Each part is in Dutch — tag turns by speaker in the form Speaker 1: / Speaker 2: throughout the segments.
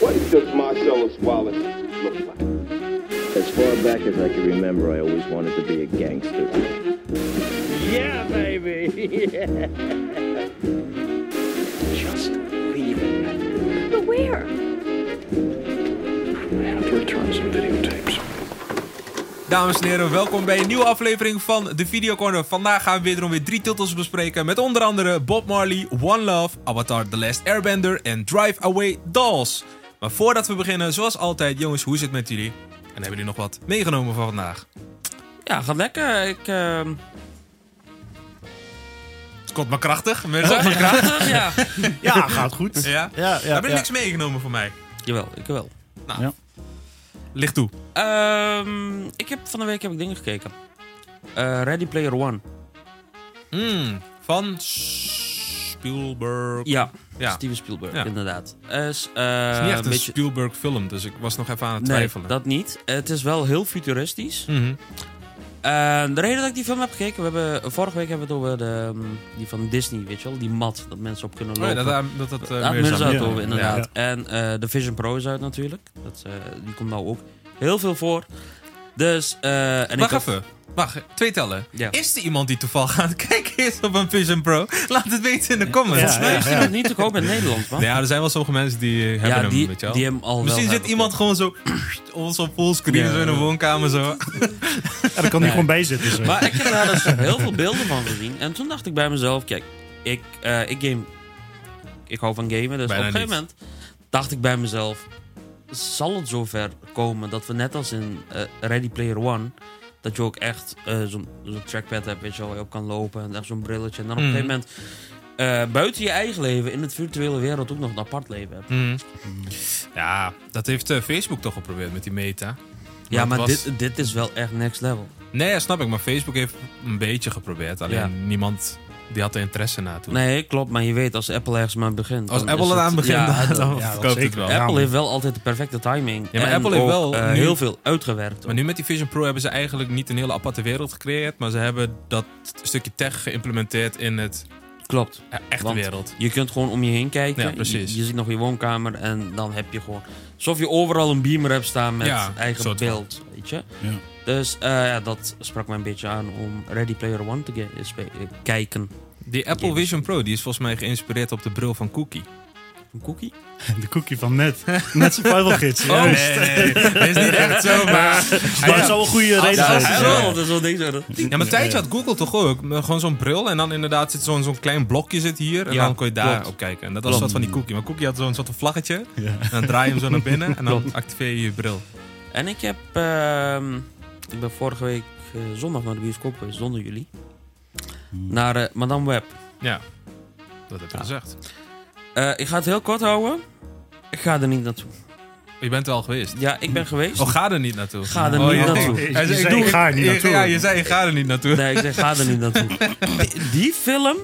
Speaker 1: what does Marcellus Wallace look like?
Speaker 2: As far back as I can remember, I always wanted to be a gangster.
Speaker 3: Yeah, baby. Yeah.
Speaker 4: Just leave it.
Speaker 5: But where?
Speaker 4: I have to return some videotapes.
Speaker 6: Dames en heren, welkom bij een nieuwe aflevering van de Videocorner. Vandaag gaan we wederom weer drie titels bespreken met onder andere Bob Marley, One Love, Avatar The Last Airbender en Drive Away Dolls. Maar voordat we beginnen, zoals altijd, jongens, hoe is het met jullie? En hebben jullie nog wat meegenomen van vandaag?
Speaker 7: Ja, gaat lekker. Ik, ehm,
Speaker 6: Het komt maar krachtig. Mirza.
Speaker 7: prachtig, ja.
Speaker 8: Ja, gaat goed.
Speaker 6: Ja?
Speaker 8: Ja, ja,
Speaker 6: Hebben jullie
Speaker 8: ja.
Speaker 6: niks meegenomen voor mij?
Speaker 7: Jawel, ik wel.
Speaker 6: Licht toe.
Speaker 7: Ehm, ik heb van de week heb ik dingen gekeken. Eh, Ready Player One.
Speaker 6: Hmm, van Spielberg.
Speaker 7: Ja,
Speaker 6: Ja.
Speaker 7: Steven Spielberg,
Speaker 6: Ja.
Speaker 7: inderdaad. is, eh,
Speaker 6: Het is niet echt een Eh, Spielberg film, dus ik was nog even aan het
Speaker 7: Nee,
Speaker 6: twijfelen.
Speaker 7: dat niet. Het is wel heel futuristisch.
Speaker 6: Mhm.
Speaker 7: Eh, de reden dat ik die film heb gekeken, we hebben, vorige week hebben we het over de, ehm, die van Disney, weet je wel, die mat dat mensen op kunnen
Speaker 6: Oh ja,
Speaker 7: lopen.
Speaker 6: dat dat, dat, eh,
Speaker 7: Ja,
Speaker 6: Mirza-
Speaker 7: Mirza
Speaker 8: Ja.
Speaker 7: Tour,
Speaker 6: Ja.
Speaker 7: inderdaad. En eh, de Vision Pro is uit natuurlijk. Dat, is, eh, die komt nou ook heel veel voor. Dus, eh, en
Speaker 6: Wacht
Speaker 7: ik had-
Speaker 6: even. Wacht, twee tellen.
Speaker 7: Ja.
Speaker 6: Is er iemand die toevallig aan het kijken is op een Vision Pro? Laat het weten in de comments.
Speaker 8: Ja,
Speaker 6: Ja,
Speaker 7: Maar is die nog niet te koop in Nederland, man?
Speaker 6: er zijn wel sommige mensen die eh, hebben hem,
Speaker 7: die,
Speaker 6: weet je wel.
Speaker 7: die hem al
Speaker 6: Misschien
Speaker 7: wel
Speaker 6: zit
Speaker 7: hebben.
Speaker 6: iemand gewoon zo... ons op fullscreen,
Speaker 7: Ja.
Speaker 6: zo in de woonkamer, zo.
Speaker 8: Ja, daar kan hij gewoon bij zitten. zo.
Speaker 7: Maar ik heb daar dus heel veel beelden van gezien. En toen dacht ik bij mezelf, kijk, ik, eh, ik game... Ik hou van gamen, dus
Speaker 6: Bijna
Speaker 7: op een gegeven
Speaker 6: niet.
Speaker 7: moment dacht ik bij mezelf... Zal het zover komen dat we net als in eh, Ready Player One... Dat je ook echt eh, zo'n zo'n trackpad hebt, weet je wel, waar je op kan lopen. En echt zo'n brilletje. En dan op een
Speaker 6: Mhm.
Speaker 7: gegeven moment... eh, buiten je eigen leven, in het virtuele wereld ook nog een apart leven hebt.
Speaker 6: Hmm. Ja, dat heeft eh, Facebook toch geprobeerd met die meta.
Speaker 7: ja,
Speaker 6: het
Speaker 7: maar
Speaker 6: was-
Speaker 7: dit, dit is wel echt next level.
Speaker 6: Nee, ja, snap ik. Maar Facebook heeft een beetje geprobeerd. Alleen
Speaker 7: Ja.
Speaker 6: niemand die had er interesse na toen.
Speaker 7: Nee, klopt, maar je weet, als Apple ergens maar begint...
Speaker 6: Als
Speaker 7: dan
Speaker 6: Apple
Speaker 7: is
Speaker 6: eraan
Speaker 7: het-
Speaker 6: begint,
Speaker 7: ja,
Speaker 6: dan,
Speaker 7: dan-
Speaker 6: dan
Speaker 8: ja,
Speaker 6: verkoopt het
Speaker 8: zeker.
Speaker 6: wel.
Speaker 8: Ja.
Speaker 7: Apple heeft wel altijd de perfecte timing.
Speaker 6: Ja, maar
Speaker 7: En
Speaker 6: Apple heeft
Speaker 7: ook,
Speaker 6: wel
Speaker 7: eh,
Speaker 6: nu-
Speaker 7: heel veel uitgewerkt.
Speaker 6: Maar nu met die Vision Pro hebben ze eigenlijk niet een hele aparte wereld gecreëerd. Maar ze hebben dat stukje tech geïmplementeerd in het
Speaker 7: Klopt.
Speaker 6: ja, echte
Speaker 7: Want-
Speaker 6: wereld.
Speaker 7: Je kunt gewoon om je heen kijken.
Speaker 6: Ja, precies.
Speaker 7: Je, je ziet nog je woonkamer en dan heb je gewoon... Alsof je overal een beamer hebt staan met
Speaker 6: Ja,
Speaker 7: eigen
Speaker 6: soort van.
Speaker 7: beeld, weet je.
Speaker 8: Ja.
Speaker 7: Dus eh, ja, dat sprak mij een beetje aan om Ready Player One te ge- spe- eh, kijken.
Speaker 6: Die Apple
Speaker 7: Games.
Speaker 6: Vision Pro die is volgens mij geïnspireerd op de bril van Cookie.
Speaker 7: Een cookie?
Speaker 8: De cookie van net. Net survival gids.
Speaker 6: Oh,
Speaker 8: juist.
Speaker 6: nee, nee. Dat is niet echt zo, maar...
Speaker 8: Maar het zou een goede reden
Speaker 7: Ja,
Speaker 8: zijn.
Speaker 7: ja,
Speaker 6: ja.
Speaker 7: dat is wel ding zo.
Speaker 6: Ja, maar een tijdje had Google toch ook eh, gewoon zo'n bril. En dan inderdaad zit zo'n zo'n klein blokje zit hier. En
Speaker 7: Ja,
Speaker 6: dan kon je daar
Speaker 7: klopt.
Speaker 6: op kijken. En dat was wat van die Cookie. Maar Cookie had zo'n soort vlaggetje.
Speaker 8: Ja.
Speaker 6: En dan draai je hem zo naar binnen. En dan activeer je je bril.
Speaker 7: En ik heb... ehm, ik ben vorige week eh, zondag naar de bioscoop geweest, zonder jullie.
Speaker 6: Hmm.
Speaker 7: Naar eh, Madame Web.
Speaker 6: Ja. Dat heb je gezegd.
Speaker 7: Eh, ik ga het heel kort houden. Ik ga er niet naartoe.
Speaker 6: Je bent er al geweest.
Speaker 7: Ja, ik ben geweest.
Speaker 6: Oh, ga er niet naartoe.
Speaker 7: Dus Ga er
Speaker 6: Oh,
Speaker 7: niet
Speaker 6: ja.
Speaker 7: naartoe.
Speaker 8: Ik-
Speaker 6: Hij
Speaker 8: ik
Speaker 6: zei,
Speaker 8: zei,
Speaker 6: doe-
Speaker 8: ga er niet
Speaker 6: ik-
Speaker 8: naartoe.
Speaker 6: Ja, je zei, ik ga er niet naartoe.
Speaker 7: Nee, ik zeg, ga er niet naartoe. Die- Die film...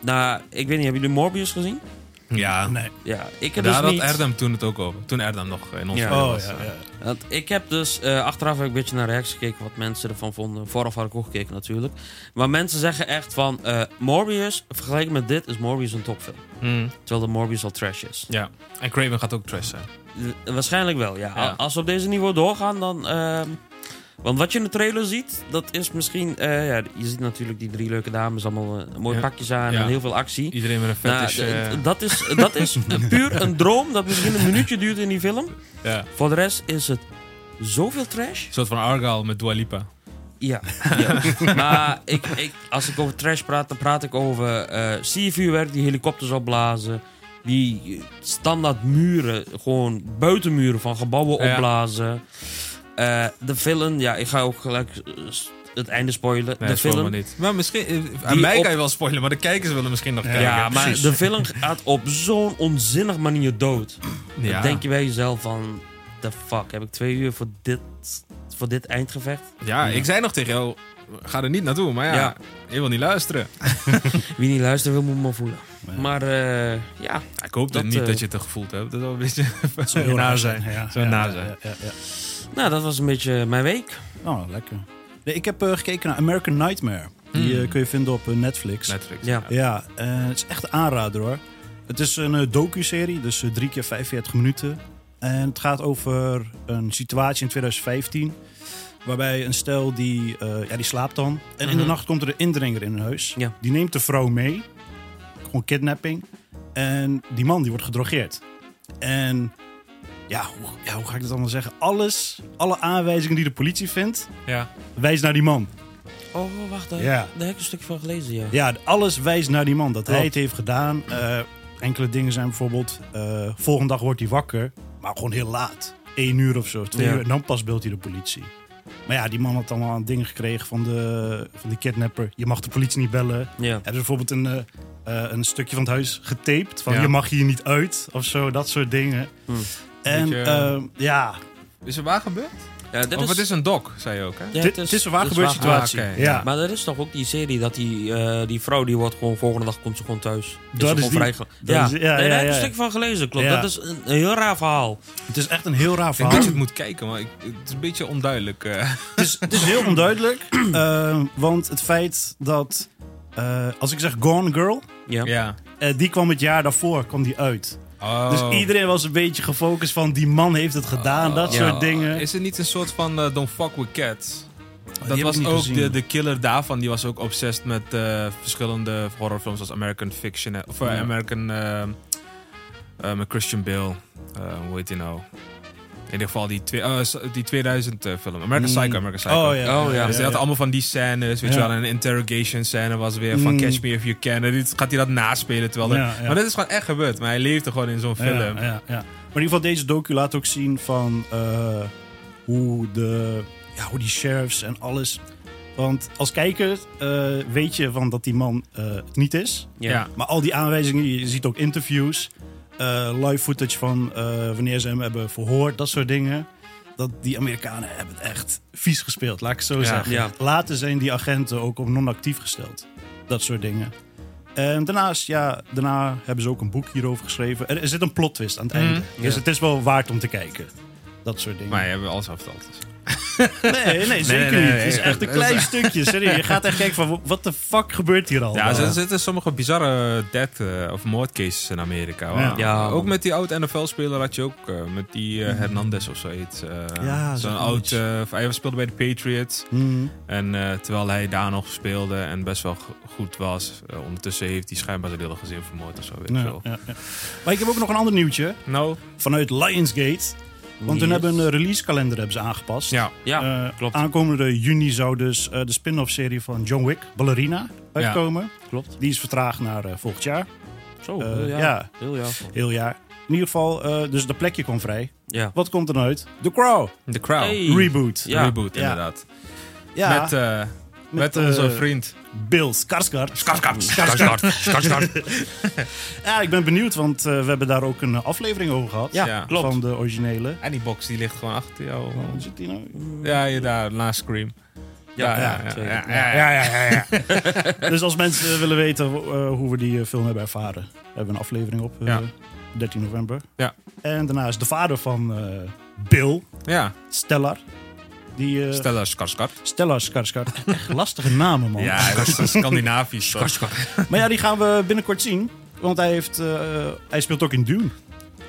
Speaker 7: Nou, ik weet niet, hebben jullie Morbius gezien?
Speaker 6: Ja,
Speaker 8: Nee.
Speaker 7: Ja, ik heb
Speaker 6: daar
Speaker 7: dus
Speaker 6: had
Speaker 7: niet...
Speaker 6: Erdem toen het ook over. Toen Erdem nog in ons
Speaker 7: Ja.
Speaker 6: midden
Speaker 8: Oh,
Speaker 6: was. eh.
Speaker 8: ja, ja.
Speaker 7: Want ik heb dus... eh, achteraf heb ik een beetje naar reacties gekeken wat mensen ervan vonden. Vooraf had ik ook gekeken natuurlijk. Maar mensen zeggen echt van... eh, Morbius, vergeleken met dit, is Morbius een topfilm.
Speaker 6: Hmm,
Speaker 7: Terwijl de Morbius al trash is.
Speaker 6: ja. En Craven gaat ook trash zijn.
Speaker 7: Eh, Waarschijnlijk wel, ja.
Speaker 6: Ja.
Speaker 7: A- Als we op deze niveau doorgaan, dan... ehm, want wat je in de trailer ziet, dat is misschien... eh, ja, je ziet natuurlijk die drie leuke dames allemaal eh, mooie
Speaker 6: Ja.
Speaker 7: pakjes aan
Speaker 6: Ja.
Speaker 7: en heel veel actie.
Speaker 6: Iedereen met een
Speaker 7: Nou,
Speaker 6: fetish. eh,
Speaker 7: d- d- dat is, dat is puur een droom dat misschien een minuutje duurt in die film.
Speaker 6: ja.
Speaker 7: Voor de rest is het zoveel trash.
Speaker 6: Een soort van Argyle met Dua Lipa.
Speaker 7: Ja. ja. maar ik, ik, als ik over trash praat, dan praat ik over eh vuurwerk die helikopters opblazen. Die standaard muren, gewoon buitenmuren van gebouwen
Speaker 6: Ja.
Speaker 7: opblazen. Eh, de villain, ja, ik ga ook gelijk eh, s- het einde spoilen.
Speaker 6: Nee,
Speaker 7: de
Speaker 6: dat is
Speaker 7: film.
Speaker 6: maar niet. Maar misschien... eh, aan
Speaker 7: Die
Speaker 6: mij
Speaker 7: op-
Speaker 6: kan je wel spoilen, maar de kijkers willen misschien nog kijken.
Speaker 7: Ja, maar de film gaat op zo'n onzinnig manier dood.
Speaker 6: Ja.
Speaker 7: Dan denk je bij jezelf van... The fuck, heb ik twee uur voor dit, voor dit eindgevecht?
Speaker 6: Ja, ik zei nog tegen jou... Ga er niet naartoe, maar ja,
Speaker 7: Ja.
Speaker 6: je wil niet luisteren.
Speaker 7: Wie niet luistert, wil moet maar voelen. Maar eh, ja,
Speaker 6: Ik hoop
Speaker 7: Dat,
Speaker 6: dat, niet
Speaker 7: eh,
Speaker 6: dat je het er gevoeld hebt. Dat is wel een beetje...
Speaker 8: Het zou heel raar zijn. Ja,
Speaker 6: Zou
Speaker 8: ja,
Speaker 6: naar
Speaker 8: ja,
Speaker 6: zijn.
Speaker 8: ja, ja,
Speaker 7: nou, dat was een beetje mijn week.
Speaker 8: ja. Oh, lekker. Nee, ik heb eh, gekeken naar American Nightmare. Die
Speaker 6: Hmm.
Speaker 8: eh, kun je vinden op eh, Netflix.
Speaker 6: Netflix.
Speaker 7: Ja.
Speaker 8: Ja, eh, het is echt een aanrader hoor. Het is een eh, docu-serie, dus eh, drie keer 45 minuten. Eh, En het gaat over een situatie in 2015. Waarbij een stel die, eh, ja, die slaapt dan. En in de
Speaker 7: Mhm.
Speaker 8: nacht komt er een indringer in hun huis.
Speaker 7: Ja.
Speaker 8: Die neemt de vrouw mee. Gewoon kidnapping. En die man die wordt gedrogeerd. En ja hoe, ja, hoe ga ik dat allemaal zeggen? Alles, alle aanwijzingen die de politie vindt,
Speaker 6: Ja.
Speaker 8: wijst naar die man.
Speaker 7: Oh, wacht. Daar,
Speaker 8: Ja.
Speaker 7: daar heb ik een stukje van gelezen, ja.
Speaker 8: Ja, alles wijst naar die man. Dat hij
Speaker 7: Klopt.
Speaker 8: het heeft gedaan. Eh, enkele dingen zijn bijvoorbeeld... eh, volgende dag wordt hij wakker, maar gewoon heel laat. Eén uur of zo, twee
Speaker 7: Ja.
Speaker 8: uur. En dan pas beeldt hij de politie. Maar ja, die man had allemaal dingen gekregen van de, van de kidnapper. Je mag de politie niet bellen.
Speaker 7: Ja.
Speaker 8: Er is bijvoorbeeld een, eh, eh, een stukje van het huis getaped. Van
Speaker 6: Ja.
Speaker 8: je mag hier niet uit of zo, dat soort dingen.
Speaker 7: Hm.
Speaker 8: En
Speaker 6: Beetje,
Speaker 8: eh, ja,
Speaker 6: Is er waar gebeurd?
Speaker 7: Ja, dit
Speaker 6: Of het is een doc, zei je ook, hè?
Speaker 7: ja,
Speaker 8: dit dit is een waar
Speaker 7: dit
Speaker 8: gebeurd
Speaker 7: waar-
Speaker 8: situatie.
Speaker 6: Ah, oké.
Speaker 8: ja.
Speaker 7: Maar er is toch ook die serie dat die, eh, die vrouw die wordt gewoon volgende dag komt ze gewoon thuis. Is
Speaker 8: Dat
Speaker 7: ze
Speaker 8: is
Speaker 7: gewoon
Speaker 8: die.
Speaker 7: vrijge-
Speaker 8: Dat
Speaker 7: Ja,
Speaker 8: is- ja,
Speaker 7: Nee, daar
Speaker 8: ja,
Speaker 7: heb ik
Speaker 8: ja,
Speaker 7: een
Speaker 8: ja.
Speaker 7: stuk van gelezen, klopt.
Speaker 8: Ja.
Speaker 7: Dat is een, een heel raar verhaal.
Speaker 8: Het is echt een heel raar
Speaker 6: Ik denk
Speaker 8: verhaal.
Speaker 6: dat je het moet kijken, maar ik, het is een beetje onduidelijk. eh.
Speaker 8: het, is, het is heel onduidelijk. eh, want het feit dat. eh, als ik zeg Gone Girl.
Speaker 7: Ja.
Speaker 6: ja.
Speaker 8: eh, die kwam het jaar daarvoor kwam die uit.
Speaker 6: Oh.
Speaker 8: Dus iedereen was een beetje gefocust van. die man heeft het gedaan, dat
Speaker 7: Ja.
Speaker 8: soort dingen.
Speaker 6: Is het niet een soort van eh, Don't Fuck With Cats?
Speaker 8: die
Speaker 6: Dat
Speaker 8: heb ik
Speaker 6: was
Speaker 8: niet
Speaker 6: ook
Speaker 8: gezien.
Speaker 6: de, de killer daarvan. Die was ook obsessed met eh, verschillende horrorfilms als American Fiction. eh, Of eh,
Speaker 8: Ja.
Speaker 6: American... eh, eh, met Christian Bale. Eh, hoe heet die nou? In ieder geval die, twee, eh, die 2000 eh, film. American
Speaker 8: Mm.
Speaker 6: Psycho, American Psycho.
Speaker 8: Oh ja.
Speaker 7: Oh, ja.
Speaker 6: Dus die had allemaal van die scènes, weet je
Speaker 8: Ja.
Speaker 6: wel. En een interrogation scène was weer van
Speaker 8: Mm.
Speaker 6: Catch Me If You Can. En dit gaat hij dat naspelen terwijl... er-
Speaker 8: Ja, ja.
Speaker 6: Maar dit is gewoon echt gebeurd. Maar hij leefde gewoon in zo'n
Speaker 8: Ja,
Speaker 6: film.
Speaker 8: ja, ja. Maar in ieder geval, deze docu laat ook zien van. eh, hoe de. Ja, hoe die sheriffs en alles. Want als kijker eh, weet je van dat die man eh, het niet is.
Speaker 6: Ja.
Speaker 8: Maar al die aanwijzingen, je ziet ook interviews, eh, live footage van eh, wanneer ze hem hebben verhoord, dat soort dingen. Dat die Amerikanen hebben het echt vies gespeeld, laat ik het zo
Speaker 6: Ja.
Speaker 8: zeggen.
Speaker 7: Ja.
Speaker 8: Later zijn die agenten ook op non-actief gesteld. Dat soort dingen. En daarnaast, ja, daarna hebben ze ook een boek hierover geschreven. Er, er zit een plot twist aan het
Speaker 6: Mm.
Speaker 8: einde. Dus
Speaker 7: Ja.
Speaker 8: het is wel waard om te kijken. Dat soort dingen.
Speaker 6: Maar je hebt alles al verteld. dus.
Speaker 8: Nee, nee, zeker
Speaker 6: nee,
Speaker 8: niet.
Speaker 6: nee,
Speaker 8: het is
Speaker 6: nee.
Speaker 8: echt een klein stukje. Serieus, je gaat echt kijken van, wat de fuck gebeurt hier al?
Speaker 6: Ja, er zitten sommige bizarre death eh, of moordcases in Amerika.
Speaker 8: Ja.
Speaker 6: Waar-
Speaker 7: Ja,
Speaker 6: ook
Speaker 7: man.
Speaker 6: met die oud NFL-speler had je ook, eh, met die eh, Hernandez of zoiets. eh,
Speaker 8: Mm. Ja,
Speaker 6: Zo'n
Speaker 8: zoiets.
Speaker 6: oud, eh, hij speelde bij de Patriots.
Speaker 8: Mhm.
Speaker 6: En eh, terwijl hij daar nog speelde en best wel go- goed was, eh, ondertussen heeft hij schijnbaar zijn hele gezin vermoord of zo. Weet ik
Speaker 8: Ja,
Speaker 6: veel.
Speaker 8: ja, ja. Maar ik heb ook nog een ander nieuwtje
Speaker 6: Nou,
Speaker 8: vanuit Lionsgate. Want hun
Speaker 7: Yes.
Speaker 8: hebben een releasekalender hebben ze aangepast.
Speaker 6: ja.
Speaker 7: Ja,
Speaker 8: Eh,
Speaker 7: klopt.
Speaker 8: Aankomende juni zou dus eh, de spin-off serie van John Wick, Ballerina, uitkomen.
Speaker 7: klopt.
Speaker 8: Die is vertraagd naar eh, volgend jaar.
Speaker 7: Zo,
Speaker 8: Eh,
Speaker 7: heel ja.
Speaker 8: ja.
Speaker 7: Heel ja.
Speaker 8: Heel jaar. In ieder geval, eh, dus de plekje kwam vrij.
Speaker 7: Ja.
Speaker 8: Wat komt er nou uit? The Crow.
Speaker 6: The Crown.
Speaker 7: Hey.
Speaker 8: Reboot.
Speaker 7: Ja.
Speaker 6: Reboot,
Speaker 8: Ja.
Speaker 6: inderdaad.
Speaker 8: Ja,
Speaker 6: Met, eh, met,
Speaker 8: eh,
Speaker 6: onze vriend.
Speaker 8: Bill Skarsgård.
Speaker 7: Skarsgård. Skarsgård.
Speaker 8: Ja, ik ben benieuwd, want eh, we hebben daar ook een eh, aflevering over gehad.
Speaker 7: Ja,
Speaker 6: Ja.
Speaker 7: klopt.
Speaker 8: Van de originele.
Speaker 6: En die box die ligt gewoon achter jou.
Speaker 8: Wat zit die nou?
Speaker 6: Ja, je daar, naast Scream.
Speaker 7: Ja,
Speaker 6: ja,
Speaker 7: ja,
Speaker 6: ja,
Speaker 7: zeker.
Speaker 6: ja, ja, ja.
Speaker 8: Dus als mensen eh, willen weten eh, hoe we die eh, film hebben ervaren, hebben we een aflevering op eh,
Speaker 6: Ja.
Speaker 8: 13 november.
Speaker 6: Ja.
Speaker 8: En daarna is de vader van eh, Bill,
Speaker 6: Ja,
Speaker 8: Stellar. Die, eh
Speaker 6: Stella Skarsgård.
Speaker 8: Stellar Skarsgård. Echt lastige namen, man.
Speaker 6: Ja, dat is Scandinavisch. toch?
Speaker 8: Maar ja, die gaan we binnenkort zien. Want hij, heeft, eh, hij speelt ook in Dune.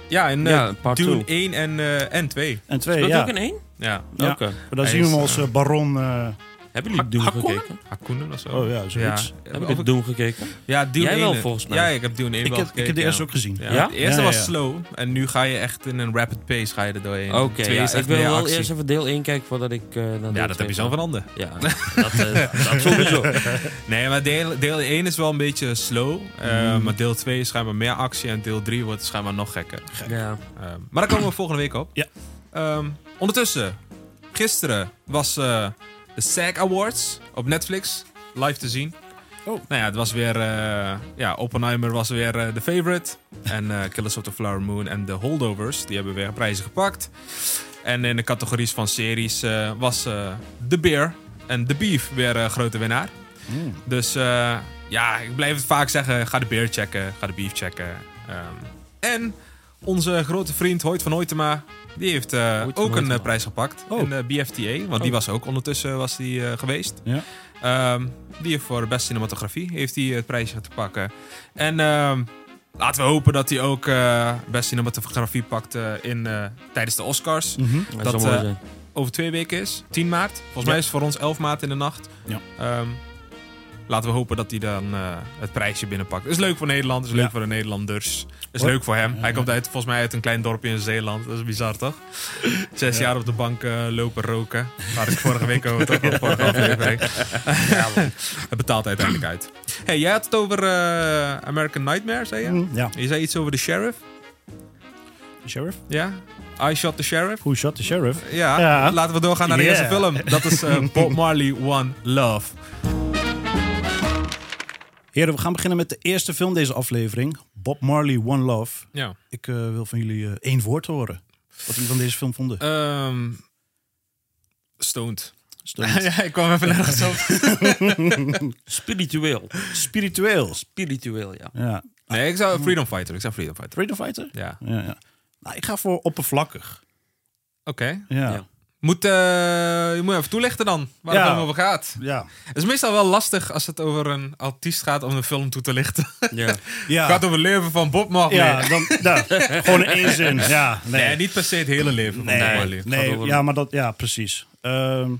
Speaker 6: Ja, in eh,
Speaker 7: Ja, part
Speaker 6: Dune
Speaker 7: two.
Speaker 6: 1 en, eh, en 2.
Speaker 8: En twee,
Speaker 7: Speelt
Speaker 8: ja.
Speaker 7: ook in één?
Speaker 6: Ja.
Speaker 8: Ja.
Speaker 7: Oké.
Speaker 8: Maar daar
Speaker 6: Hij
Speaker 8: zien we
Speaker 6: is,
Speaker 8: hem als eh, baron. eh,
Speaker 7: Hebben jullie Doom
Speaker 8: Hakkonnen?
Speaker 7: gekeken?
Speaker 6: Hakunen of zo.
Speaker 8: oh ja, zoiets.
Speaker 7: Hebben jullie
Speaker 6: Of-
Speaker 7: Doom gekeken?
Speaker 6: ja, Dune
Speaker 7: Jij wel,
Speaker 6: 1.
Speaker 7: volgens mij.
Speaker 6: Ja, ik heb Dune 1
Speaker 8: Ik
Speaker 6: wel
Speaker 8: heb, ik
Speaker 6: gekeken.
Speaker 8: heb de eerste
Speaker 6: ja.
Speaker 8: ook gezien.
Speaker 6: Ja.
Speaker 7: Ja?
Speaker 6: De eerste
Speaker 8: Ja, ja,
Speaker 6: was
Speaker 8: ja.
Speaker 6: slow en nu ga je echt in een rapid pace ga je er doorheen.
Speaker 7: Oké,
Speaker 6: Twee
Speaker 7: ja,
Speaker 6: is
Speaker 7: ik
Speaker 6: echt
Speaker 7: wil
Speaker 6: meer
Speaker 7: wel
Speaker 6: actie.
Speaker 7: eerst even deel 1 kijken voordat ik... eh, naar
Speaker 6: Ja, dat
Speaker 7: deel twee
Speaker 6: heb je
Speaker 7: ga.
Speaker 6: zelf van handen.
Speaker 7: Ja, dat, eh, dat sowieso.
Speaker 6: Nee, maar deel, deel 1 is wel een beetje slow. eh,
Speaker 8: Mm.
Speaker 6: Maar deel 2 is schijnbaar meer actie en deel 3 wordt schijnbaar nog gekker.
Speaker 7: Ja.
Speaker 6: Ehm, maar daar komen we volgende week op.
Speaker 8: Ja.
Speaker 6: Ehm, ondertussen, gisteren was eh, de SAG Awards op Netflix live te zien.
Speaker 8: Oh.
Speaker 6: Nou ja, het was weer. eh, ja, Oppenheimer was weer eh, de favorite. en eh, Killers of the Flower Moon en The Holdovers, die hebben weer prijzen gepakt. En in de categories van series eh, was eh The Bear en The Beef weer eh, grote winnaar.
Speaker 8: Mm.
Speaker 6: Dus eh, ja, ik blijf het vaak zeggen. Ga de beer checken, ga de beef checken. Ehm, en onze grote vriend Hoyt van Hoytema, die heeft eh,
Speaker 7: van
Speaker 6: ook een
Speaker 7: Hoytema.
Speaker 6: eh, prijs gepakt.
Speaker 8: Oh.
Speaker 6: In de BFTA, want die
Speaker 7: Oh.
Speaker 6: was ook ondertussen was die, eh, geweest.
Speaker 8: Ja.
Speaker 6: eh, Ehm, die heeft voor de beste cinematografie heeft hij het prijsje te pakken. En ehm, Laten we hopen dat hij ook eh best cinematografie pakt eh, in, eh, tijdens de Oscars.
Speaker 8: mm-hmm.
Speaker 7: Dat,
Speaker 6: Dat,
Speaker 7: zou mooi
Speaker 6: eh,
Speaker 7: zijn.
Speaker 6: Over twee weken is, 10 maart. Volgens mij is het voor ons 11 maart in de nacht.
Speaker 8: Ja.
Speaker 6: Ehm, laten we hopen dat hij dan eh, het prijsje binnenpakt. Is leuk voor Nederland, is leuk
Speaker 8: Ja.
Speaker 6: voor de Nederlanders. Is
Speaker 8: Hoor.
Speaker 6: leuk voor hem. Hij komt uit, volgens mij uit een klein dorpje in Zeeland. Dat is bizar toch? Zes jaar op de bank eh, lopen roken. Waar ik vorige week over toch op vorige aflevering. het betaalt uiteindelijk uit. Hey, jij had het over eh, American Nightmare, zei je?
Speaker 8: Mm, Ja,
Speaker 6: Je zei iets over de sheriff,
Speaker 8: sheriff.
Speaker 6: ja? I shot the sheriff.
Speaker 8: Who shot the sheriff?
Speaker 6: Ja,
Speaker 8: Ja.
Speaker 6: laten we doorgaan naar de
Speaker 8: Yeah.
Speaker 6: eerste film. Dat is eh, Bob Marley One Love.
Speaker 8: Heren, we gaan beginnen met de eerste film deze aflevering. Bob Marley, One Love.
Speaker 6: Ja.
Speaker 8: Ik eh, wil van jullie eh, één woord horen. Wat jullie van deze film vonden.
Speaker 6: Ehm stoned.
Speaker 8: Stoned.
Speaker 6: ja, ik kwam even nergens op.
Speaker 7: Spiritueel.
Speaker 8: Spiritueel.
Speaker 7: Spiritueel, ja.
Speaker 8: Ja.
Speaker 6: Nee, ik zou Freedom Fighter. Ik zou Freedom Fighter.
Speaker 8: Freedom Fighter?
Speaker 6: Ja,
Speaker 8: Ja, ja. Nou, ik ga voor oppervlakkig.
Speaker 6: oké.
Speaker 8: Ja.
Speaker 7: Ja.
Speaker 8: ja.
Speaker 6: Moet, eh, je moet even toelichten dan, waar het
Speaker 8: Ja.
Speaker 6: allemaal over gaat.
Speaker 8: Ja.
Speaker 6: Het is meestal wel lastig als het over een artiest gaat om een film toe te lichten.
Speaker 7: ja.
Speaker 6: Het gaat over het leven van Bob Marley.
Speaker 8: Ja, dan, nou, gewoon in één zin. Ja,
Speaker 6: nee.
Speaker 8: nee.
Speaker 6: niet per se het hele leven van Bob Marley.
Speaker 8: nee,
Speaker 7: Gaat
Speaker 8: nee
Speaker 7: over-
Speaker 8: ja, maar dat, ja, precies. Ehm,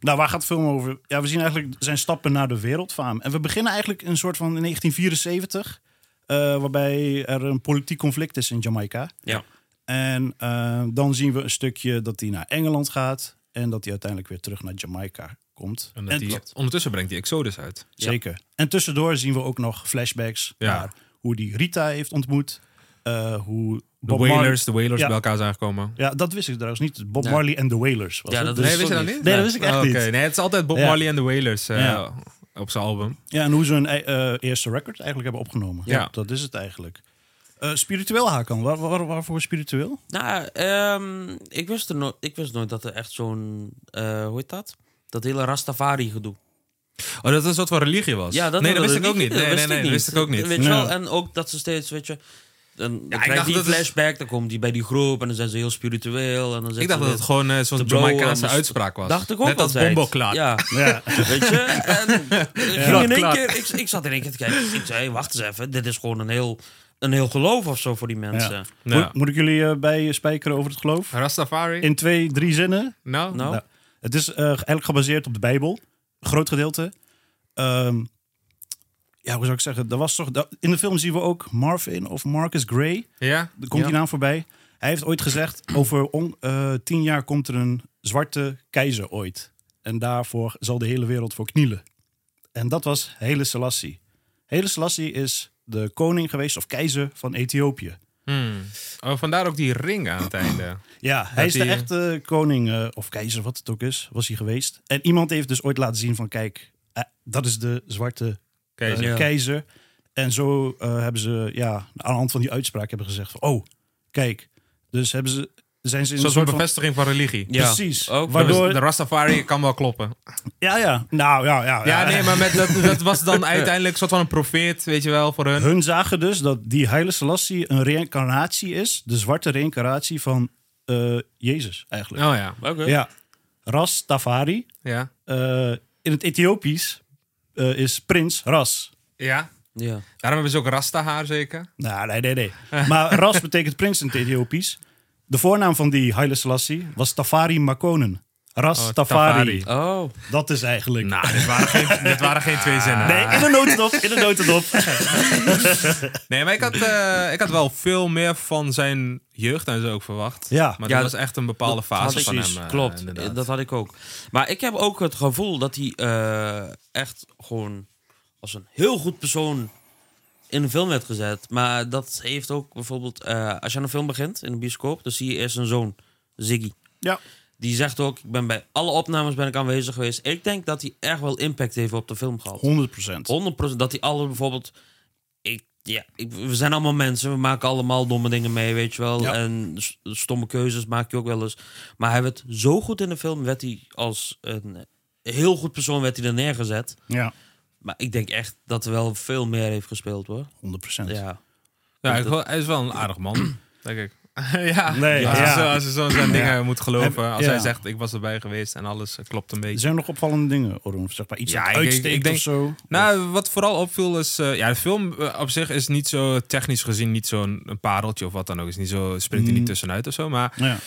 Speaker 8: nou, waar gaat de film over? Ja, we zien eigenlijk zijn stappen naar de wereldfaam. En we beginnen eigenlijk een soort van in 1974, eh, waarbij er een politiek conflict is in Jamaica.
Speaker 7: Ja.
Speaker 8: En eh, dan zien we een stukje dat hij naar Engeland gaat en dat hij uiteindelijk weer terug naar Jamaica komt.
Speaker 6: En dat
Speaker 8: En-
Speaker 6: die, ondertussen brengt hij Exodus uit.
Speaker 8: Zeker. En tussendoor zien we ook nog flashbacks
Speaker 6: Ja.
Speaker 8: naar hoe die Rita heeft ontmoet, eh, hoe
Speaker 6: De
Speaker 8: Bob Marley-
Speaker 6: Wailers, de Wailers
Speaker 8: Ja.
Speaker 6: bij elkaar zijn gekomen.
Speaker 8: Ja, dat wist ik trouwens niet. Bob
Speaker 7: Ja.
Speaker 8: Marley en de Wailers. Was
Speaker 7: Ja,
Speaker 8: het?
Speaker 7: dat
Speaker 8: Dus-
Speaker 6: Nee, wist je dat
Speaker 7: niet?
Speaker 6: niet?
Speaker 8: Nee, dat wist ik echt
Speaker 6: Oké,
Speaker 8: niet.
Speaker 6: Nee, het is altijd Bob
Speaker 8: Ja.
Speaker 6: Marley en de Wailers eh,
Speaker 8: Ja.
Speaker 6: op zijn album.
Speaker 8: Ja, en hoe ze hun eh, eh, eerste record eigenlijk hebben opgenomen.
Speaker 6: Ja.
Speaker 8: Dat is het eigenlijk. Eh, spiritueel Hakan, waar, waar- waarvoor spiritueel?
Speaker 7: Nou, ehm, ik, wist er no ik wist nooit dat er echt zo'n... eh, hoe heet dat? Dat hele Rastafari gedoe.
Speaker 6: Oh, dat is wat voor religie was?
Speaker 7: Ja, dat
Speaker 6: nee, dat
Speaker 7: wilde
Speaker 6: wist ik ook niet.
Speaker 7: Dat
Speaker 6: Nee, nee, nee, dat wist ik ook niet.
Speaker 7: Weet je wel,
Speaker 8: Nee.
Speaker 7: en ook dat ze steeds, weet je... Dan, dan
Speaker 6: ik
Speaker 7: krijg
Speaker 6: dacht
Speaker 7: je die
Speaker 6: dat het-
Speaker 7: flashback, dan komt die bij die groep en dan zijn ze heel spiritueel. En dan
Speaker 6: Ik dacht dat het gewoon eh, zo'n
Speaker 7: te blowen,
Speaker 6: Jamaicaanse
Speaker 7: maar-
Speaker 6: uitspraak was.
Speaker 7: Dacht ik ook
Speaker 6: Net als
Speaker 7: altijd.
Speaker 6: Bombo klaar.
Speaker 7: Ja,
Speaker 8: Ja,
Speaker 7: weet je. En ik ging in één
Speaker 6: Klaar.
Speaker 7: keer, ik, ik zat in één keer te kijken. Ik zei, hey, wacht eens even. Dit is gewoon een heel, een heel geloof of zo voor die mensen.
Speaker 8: Ja.
Speaker 6: Nou,
Speaker 8: Moet, moet ik jullie eh, bij spijkeren over het geloof?
Speaker 6: Rastafari?
Speaker 8: In twee, drie zinnen.
Speaker 6: nou,
Speaker 7: Nou,
Speaker 8: Nou, het is eh, eigenlijk gebaseerd op de Bijbel. Een groot gedeelte. Ehm, ja, hoe zou ik zeggen? Er was toch, dat- in de film zien we ook Marvin of Marcus Gray.
Speaker 6: ja.
Speaker 8: Er komt
Speaker 7: Ja.
Speaker 8: die naam voorbij. Hij heeft ooit gezegd, over on- eh, tien jaar komt er een zwarte keizer ooit. En daarvoor zal de hele wereld voor knielen. En dat was Hele Selassie. Hele Selassie is de koning geweest of keizer van Ethiopië.
Speaker 6: Hmm. Oh, vandaar ook die ring aan het einde.
Speaker 8: Ja, hij is de
Speaker 6: hij, eh,
Speaker 8: echte koning eh, of keizer, wat het ook is, was hij geweest. En iemand heeft dus ooit laten zien van, kijk, eh, dat is de zwarte
Speaker 6: Keizer.
Speaker 8: eh,
Speaker 7: Ja.
Speaker 8: keizer. En zo eh, hebben ze, ja, aan de hand van die uitspraak hebben gezegd van, oh, kijk. Dus hebben ze, zijn ze in
Speaker 6: Zoals
Speaker 8: een
Speaker 6: een
Speaker 8: soort van-
Speaker 6: bevestiging van religie.
Speaker 7: ja.
Speaker 8: precies.
Speaker 7: Ook
Speaker 8: Waardoor-
Speaker 6: Dus de Rastafari kan wel kloppen.
Speaker 8: Ja, ja. Nou, ja, ja.
Speaker 6: Ja,
Speaker 8: ja.
Speaker 6: nee, maar met, dat, dat was dan uiteindelijk een soort van een profeet, weet je wel, voor hun.
Speaker 8: Hun zagen dus dat die Heilige Selassie een reïncarnatie is. De zwarte reïncarnatie van eh, Jezus, eigenlijk.
Speaker 6: Oh ja,
Speaker 7: Oké.
Speaker 8: Ja. Rastafari.
Speaker 6: ja.
Speaker 8: eh, in het Ethiopisch eh, is prins Ras.
Speaker 6: Ja,
Speaker 7: Ja.
Speaker 6: daarom hebben ze ook Rastahaar zeker.
Speaker 8: Nou, nee, nee, nee. Maar Ras betekent prins in het Ethiopisch. De voornaam van die Haile Selassie was Tafari Makonnen. Ras
Speaker 6: Oh,
Speaker 8: Tafari.
Speaker 7: Oh,
Speaker 8: Dat is eigenlijk...
Speaker 6: Nou, dit waren geen, dit waren geen twee zinnen.
Speaker 8: Nee, in de notendop, in de notendop.
Speaker 6: Nee, maar ik had, eh, ik had wel veel meer van zijn jeugd en zo ook verwacht.
Speaker 8: Ja.
Speaker 6: Maar
Speaker 7: Ja,
Speaker 6: dat was echt een bepaalde
Speaker 7: had
Speaker 6: fase
Speaker 7: ik-
Speaker 6: van hem.
Speaker 7: precies,
Speaker 6: eh,
Speaker 7: Klopt,
Speaker 6: inderdaad.
Speaker 7: dat had ik ook. Maar ik heb ook het gevoel dat hij eh, echt gewoon als een heel goed persoon in een film werd gezet. Maar dat heeft ook bijvoorbeeld, eh, als je aan een film begint in de bioscoop, dan zie je eerst een zoon, Ziggy.
Speaker 8: Ja.
Speaker 7: Die zegt ook, ik ben bij alle opnames ben ik aanwezig geweest. Ik denk dat hij echt wel impact heeft op de film gehad.
Speaker 8: 100%.
Speaker 7: 100% dat die alle bijvoorbeeld. Ik, ja, ik- we zijn allemaal mensen, we maken allemaal domme dingen mee, weet je wel.
Speaker 8: Ja.
Speaker 7: En s- stomme keuzes maak je ook wel eens. Maar hij werd zo goed in de film, werd hij als een heel goed persoon werd hij er neergezet.
Speaker 8: Ja,
Speaker 7: Maar ik denk echt dat er wel veel meer heeft gespeeld hoor.
Speaker 8: 100%.
Speaker 7: Ja,
Speaker 6: Ja, ik wel- hij is wel een aardig man, denk ik. ja,
Speaker 8: Nee,
Speaker 6: als,
Speaker 8: ja.
Speaker 6: Ze, zo- als ze zo zijn dingen moet geloven. Als
Speaker 8: Ja. Dus-
Speaker 6: hij zegt, ik was erbij geweest en alles eh, klopt een
Speaker 8: Er
Speaker 6: beetje.
Speaker 8: zijn nog opvallende dingen, Oron. Of zeg maar iets
Speaker 6: Ja,
Speaker 8: dat
Speaker 6: ik- ik- ik
Speaker 8: uitsteekt
Speaker 6: denk-
Speaker 8: of zo.
Speaker 6: Nou, wat vooral opviel is... eh, ja, de film eh, op zich is niet zo technisch gezien niet zo'n een pareltje of wat dan ook. Is niet zo, springt hij niet
Speaker 8: Mm.
Speaker 6: tussenuit of zo. Maar
Speaker 8: Ja.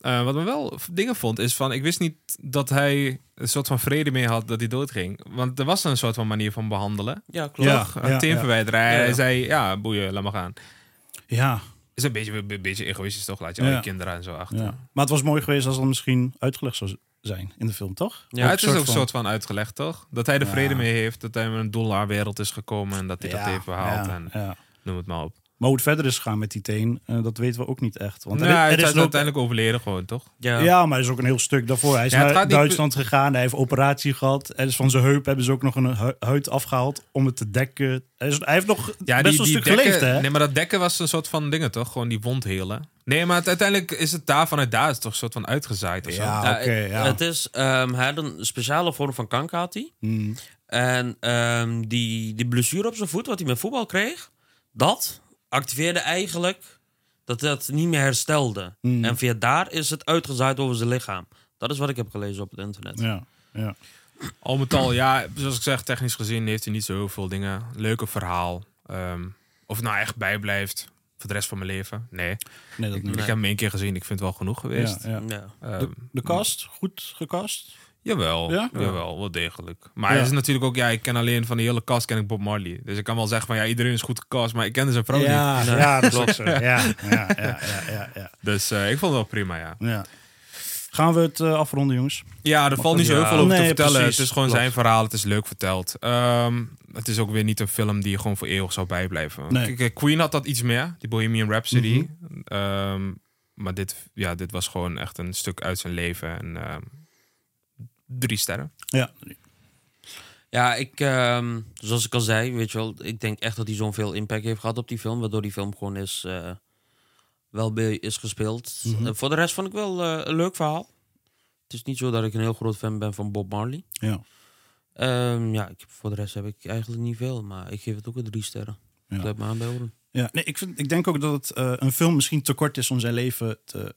Speaker 6: eh, wat me wel v- dingen vond is van... Ik wist niet dat hij een soort van vrede mee had dat hij doodging. Want er was een soort van manier van behandelen.
Speaker 7: Ja, klopt.
Speaker 8: Ja.
Speaker 6: Toch? Een team verwijderen. Hij, hij zei, ja, boeien, laat maar gaan.
Speaker 8: Ja,
Speaker 6: Is een beetje, een beetje egoïstisch toch? Laat je al
Speaker 8: Ja.
Speaker 6: je kinderen en zo achter.
Speaker 8: ja. Maar het was mooi geweest als dat misschien uitgelegd zou zijn in de film, toch?
Speaker 6: Ja, het is ook een soort van uitgelegd, toch? Dat hij er vrede mee heeft, dat hij met een dollarwereld is gekomen en dat hij dat heeft behaald
Speaker 8: ja,
Speaker 6: en
Speaker 8: ja.
Speaker 6: noem het maar op.
Speaker 8: Maar hoe het verder is gegaan met die teen, eh, dat weten we ook niet echt. Want
Speaker 6: Want
Speaker 8: er
Speaker 6: nou,
Speaker 8: is-
Speaker 6: hij
Speaker 8: er
Speaker 6: is
Speaker 8: is ook,
Speaker 6: uiteindelijk overleden gewoon, toch?
Speaker 7: Ja.
Speaker 8: ja. maar er is ook een heel stuk daarvoor. Hij is
Speaker 6: Ja, het gaat
Speaker 8: naar
Speaker 6: niet
Speaker 8: Duitsland gegaan, hij heeft operatie gehad. Er is van zijn heup hebben ze ook nog een hu- huid afgehaald om het te dekken. Hij, is- hij heeft nog
Speaker 6: Ja,
Speaker 8: best wel een stuk
Speaker 6: dekken,
Speaker 8: geleefd, hè?
Speaker 6: Nee, maar dat dekken was een soort van dingen, toch? Gewoon die wond helen. Nee, maar het, uiteindelijk is het daar vanuit daar is het toch een soort van uitgezaaid of zo.
Speaker 8: Ja.
Speaker 7: Ja,
Speaker 8: Ah, oké,
Speaker 7: het-
Speaker 8: ja.
Speaker 7: Het is, ehm, hij had een speciale vorm van kanker had hij.
Speaker 8: Hmm.
Speaker 7: En ehm, die, die blessure op zijn voet, wat hij met voetbal kreeg, dat activeerde eigenlijk dat dat niet meer herstelde.
Speaker 8: Hmm.
Speaker 7: En via daar is het uitgezaaid over zijn lichaam. Dat is wat ik heb gelezen op het internet.
Speaker 8: Ja, ja.
Speaker 6: Al met al, ja, zoals ik zeg, technisch gezien heeft hij niet zo heel veel dingen. Leuke verhaal. Ehm, of het nou echt bijblijft voor de rest van mijn leven. Nee.
Speaker 8: Nee, dat
Speaker 6: Ik,
Speaker 8: niet.
Speaker 6: ik heb hem één keer gezien, ik vind het wel genoeg geweest.
Speaker 8: Ja, Hmm. ja.
Speaker 7: Ja.
Speaker 6: Ehm,
Speaker 8: De, de cast, goed gecast.
Speaker 6: Jawel,
Speaker 8: Ja?
Speaker 6: jawel, wel degelijk. Maar
Speaker 8: Ja.
Speaker 6: het is natuurlijk ook, ja, ik ken alleen van die hele cast ken ik Bob Marley. Dus ik kan wel zeggen van, ja, iedereen is goed gecast, maar ik kende zijn vrouw niet.
Speaker 8: ja, ja, dat is ook zo. Ja, ja, ja, ja, ja, ja,
Speaker 6: Dus eh, ik vond het wel prima, ja.
Speaker 8: ja. Gaan we het eh, afronden, jongens?
Speaker 6: Ja, er valt niet zo heel
Speaker 7: ja.
Speaker 6: veel over te
Speaker 8: Nee,
Speaker 6: vertellen.
Speaker 8: precies.
Speaker 6: het is gewoon
Speaker 8: Klopt.
Speaker 6: zijn verhaal, het is leuk verteld. Ehm, het is ook weer niet een film die je gewoon voor eeuwig zou bijblijven.
Speaker 8: Nee. Mhm.
Speaker 6: Kijk, eh, Queen had dat iets meer, die Bohemian Rhapsody. Ehm, maar dit, ja, dit was gewoon echt een stuk uit zijn leven. En, ehm, drie sterren.
Speaker 8: Ja.
Speaker 7: Ja, ik, ehm, zoals ik al zei, weet je wel, ik denk echt dat hij zo'n veel impact heeft gehad op die film, waardoor die film gewoon is, eh, wel bij is gespeeld. Eh, voor de rest vond ik wel eh, een leuk verhaal. Het is niet zo dat ik een heel groot fan ben van Bob Marley.
Speaker 8: Ja.
Speaker 7: Ehm, ja, ik, voor de rest heb ik eigenlijk niet veel, maar ik geef het ook een drie sterren.
Speaker 8: Ja.
Speaker 7: Blijf me aan bij horen.
Speaker 8: Ja, nee, ik, vind, ik denk ook dat het, eh, een film misschien te kort is om zijn leven te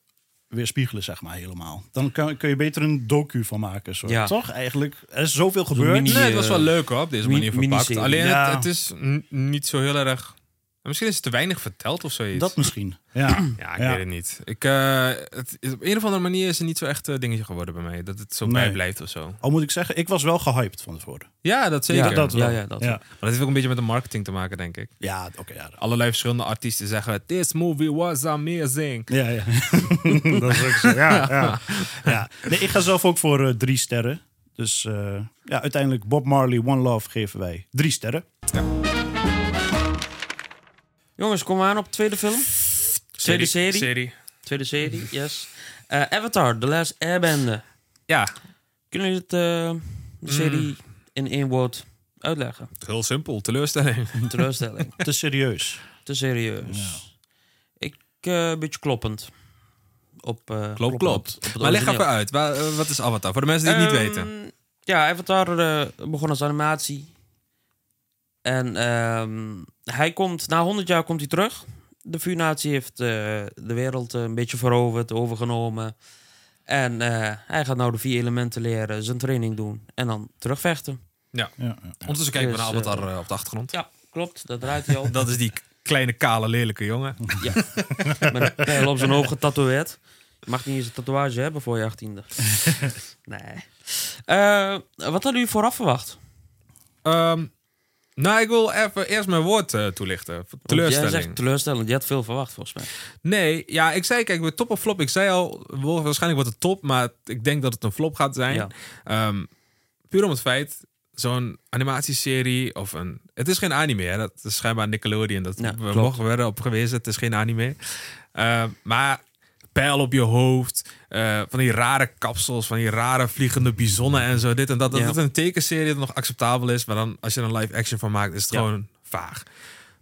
Speaker 8: weerspiegelen, zeg maar, helemaal. Dan kan, kun je beter een docu van maken, zo.
Speaker 7: Ja.
Speaker 8: toch? Eigenlijk, er is zoveel
Speaker 7: mini-
Speaker 8: gebeurd.
Speaker 7: Die,
Speaker 6: Nee, het was wel
Speaker 7: eh,
Speaker 6: leuk hoor, op deze
Speaker 7: mi-
Speaker 6: manier verpakt.
Speaker 7: miniserie.
Speaker 6: Alleen
Speaker 8: Ja.
Speaker 6: het, het is n- niet zo heel erg... Misschien is het te weinig verteld of zoiets.
Speaker 8: dat misschien. Ja.
Speaker 6: ja, ik
Speaker 8: Ja.
Speaker 6: weet het niet. Ik, eh, het, is- op een of andere manier is het niet zo echt een dingetje geworden bij mij. Dat het zo
Speaker 8: Nee.
Speaker 6: bijblijft of zo.
Speaker 8: Al moet ik zeggen, ik was wel gehyped van tevoren.
Speaker 6: Ja, dat zeker.
Speaker 7: ja,
Speaker 8: dat wel.
Speaker 7: Ja, ja, dat
Speaker 8: Ja,
Speaker 6: Maar dat heeft ook een beetje met de marketing te maken, denk ik.
Speaker 8: ja oké. ja,
Speaker 6: Allerlei verschillende artiesten zeggen... This movie was amazing.
Speaker 8: Ja, ja. dat is ook zo. Ja, ja. ja. Nee, ik ga zelf ook voor eh, drie sterren. Dus eh, ja, uiteindelijk Bob Marley, One Love geven wij drie sterren.
Speaker 7: Jongens, kom aan op tweede film. Tweede serie. Tweede serie, yes. Eh, Avatar, The Last Airbender.
Speaker 6: Ja,
Speaker 7: Kunnen jullie het, eh, de serie in één woord uitleggen?
Speaker 6: heel simpel. Teleurstelling.
Speaker 7: Teleurstelling.
Speaker 8: Te serieus.
Speaker 7: Te serieus. Ik eh, een beetje kloppend. Op, eh,
Speaker 6: Klopt, klopt.
Speaker 7: op het
Speaker 6: Maar leg
Speaker 7: origineel.
Speaker 6: even uit. Wa- eh, Wat is Avatar? Voor de mensen die het niet
Speaker 7: Ehm,
Speaker 6: weten.
Speaker 7: Ja, Avatar eh, begon als animatie. En ehm, hij komt, na 100 jaar komt hij terug. De vuurnatie heeft eh, de wereld eh, een beetje veroverd, overgenomen. En eh, hij gaat nou de vier elementen leren, zijn training doen en dan terugvechten.
Speaker 8: Ja, ja.
Speaker 6: Ondertussen kijken we
Speaker 7: dus,
Speaker 6: naar Avatar eh, op de achtergrond.
Speaker 7: Ja, klopt, dat draait hij al.
Speaker 6: Dat is die kleine, kale, lelijke jongen.
Speaker 7: Ja, met een pijl op zijn hoofd getatoeëerd. Je mag niet eens een tatoeage hebben voor je achttiende. nee. Eh, wat hadden jullie vooraf verwacht?
Speaker 6: Ehm, nou, ik wil even eerst mijn woord eh, toelichten. Teleurstelling.
Speaker 7: Jij zegt teleurstellend. Je had veel verwacht, volgens mij.
Speaker 6: Nee, ja, ik zei, kijk, met top of flop. Ik zei al, wel- waarschijnlijk wordt het top, maar ik denk dat het een flop gaat zijn.
Speaker 7: Ja.
Speaker 6: Ehm, puur om het feit, zo'n animatieserie of een... Het is geen anime, hè? dat is schijnbaar Nickelodeon. Dat
Speaker 7: Ja,
Speaker 6: we
Speaker 7: klopt.
Speaker 6: mogen werden op gewezen, het is geen anime. Ehm, maar pijl op je hoofd, eh, van die rare kapsels, van die rare vliegende bizonnen en zo, dit en dat. Dat
Speaker 7: Ja.
Speaker 6: het een tekenserie dat nog acceptabel is, maar dan als je er een live action van maakt, is het
Speaker 7: Ja.
Speaker 6: gewoon vaag.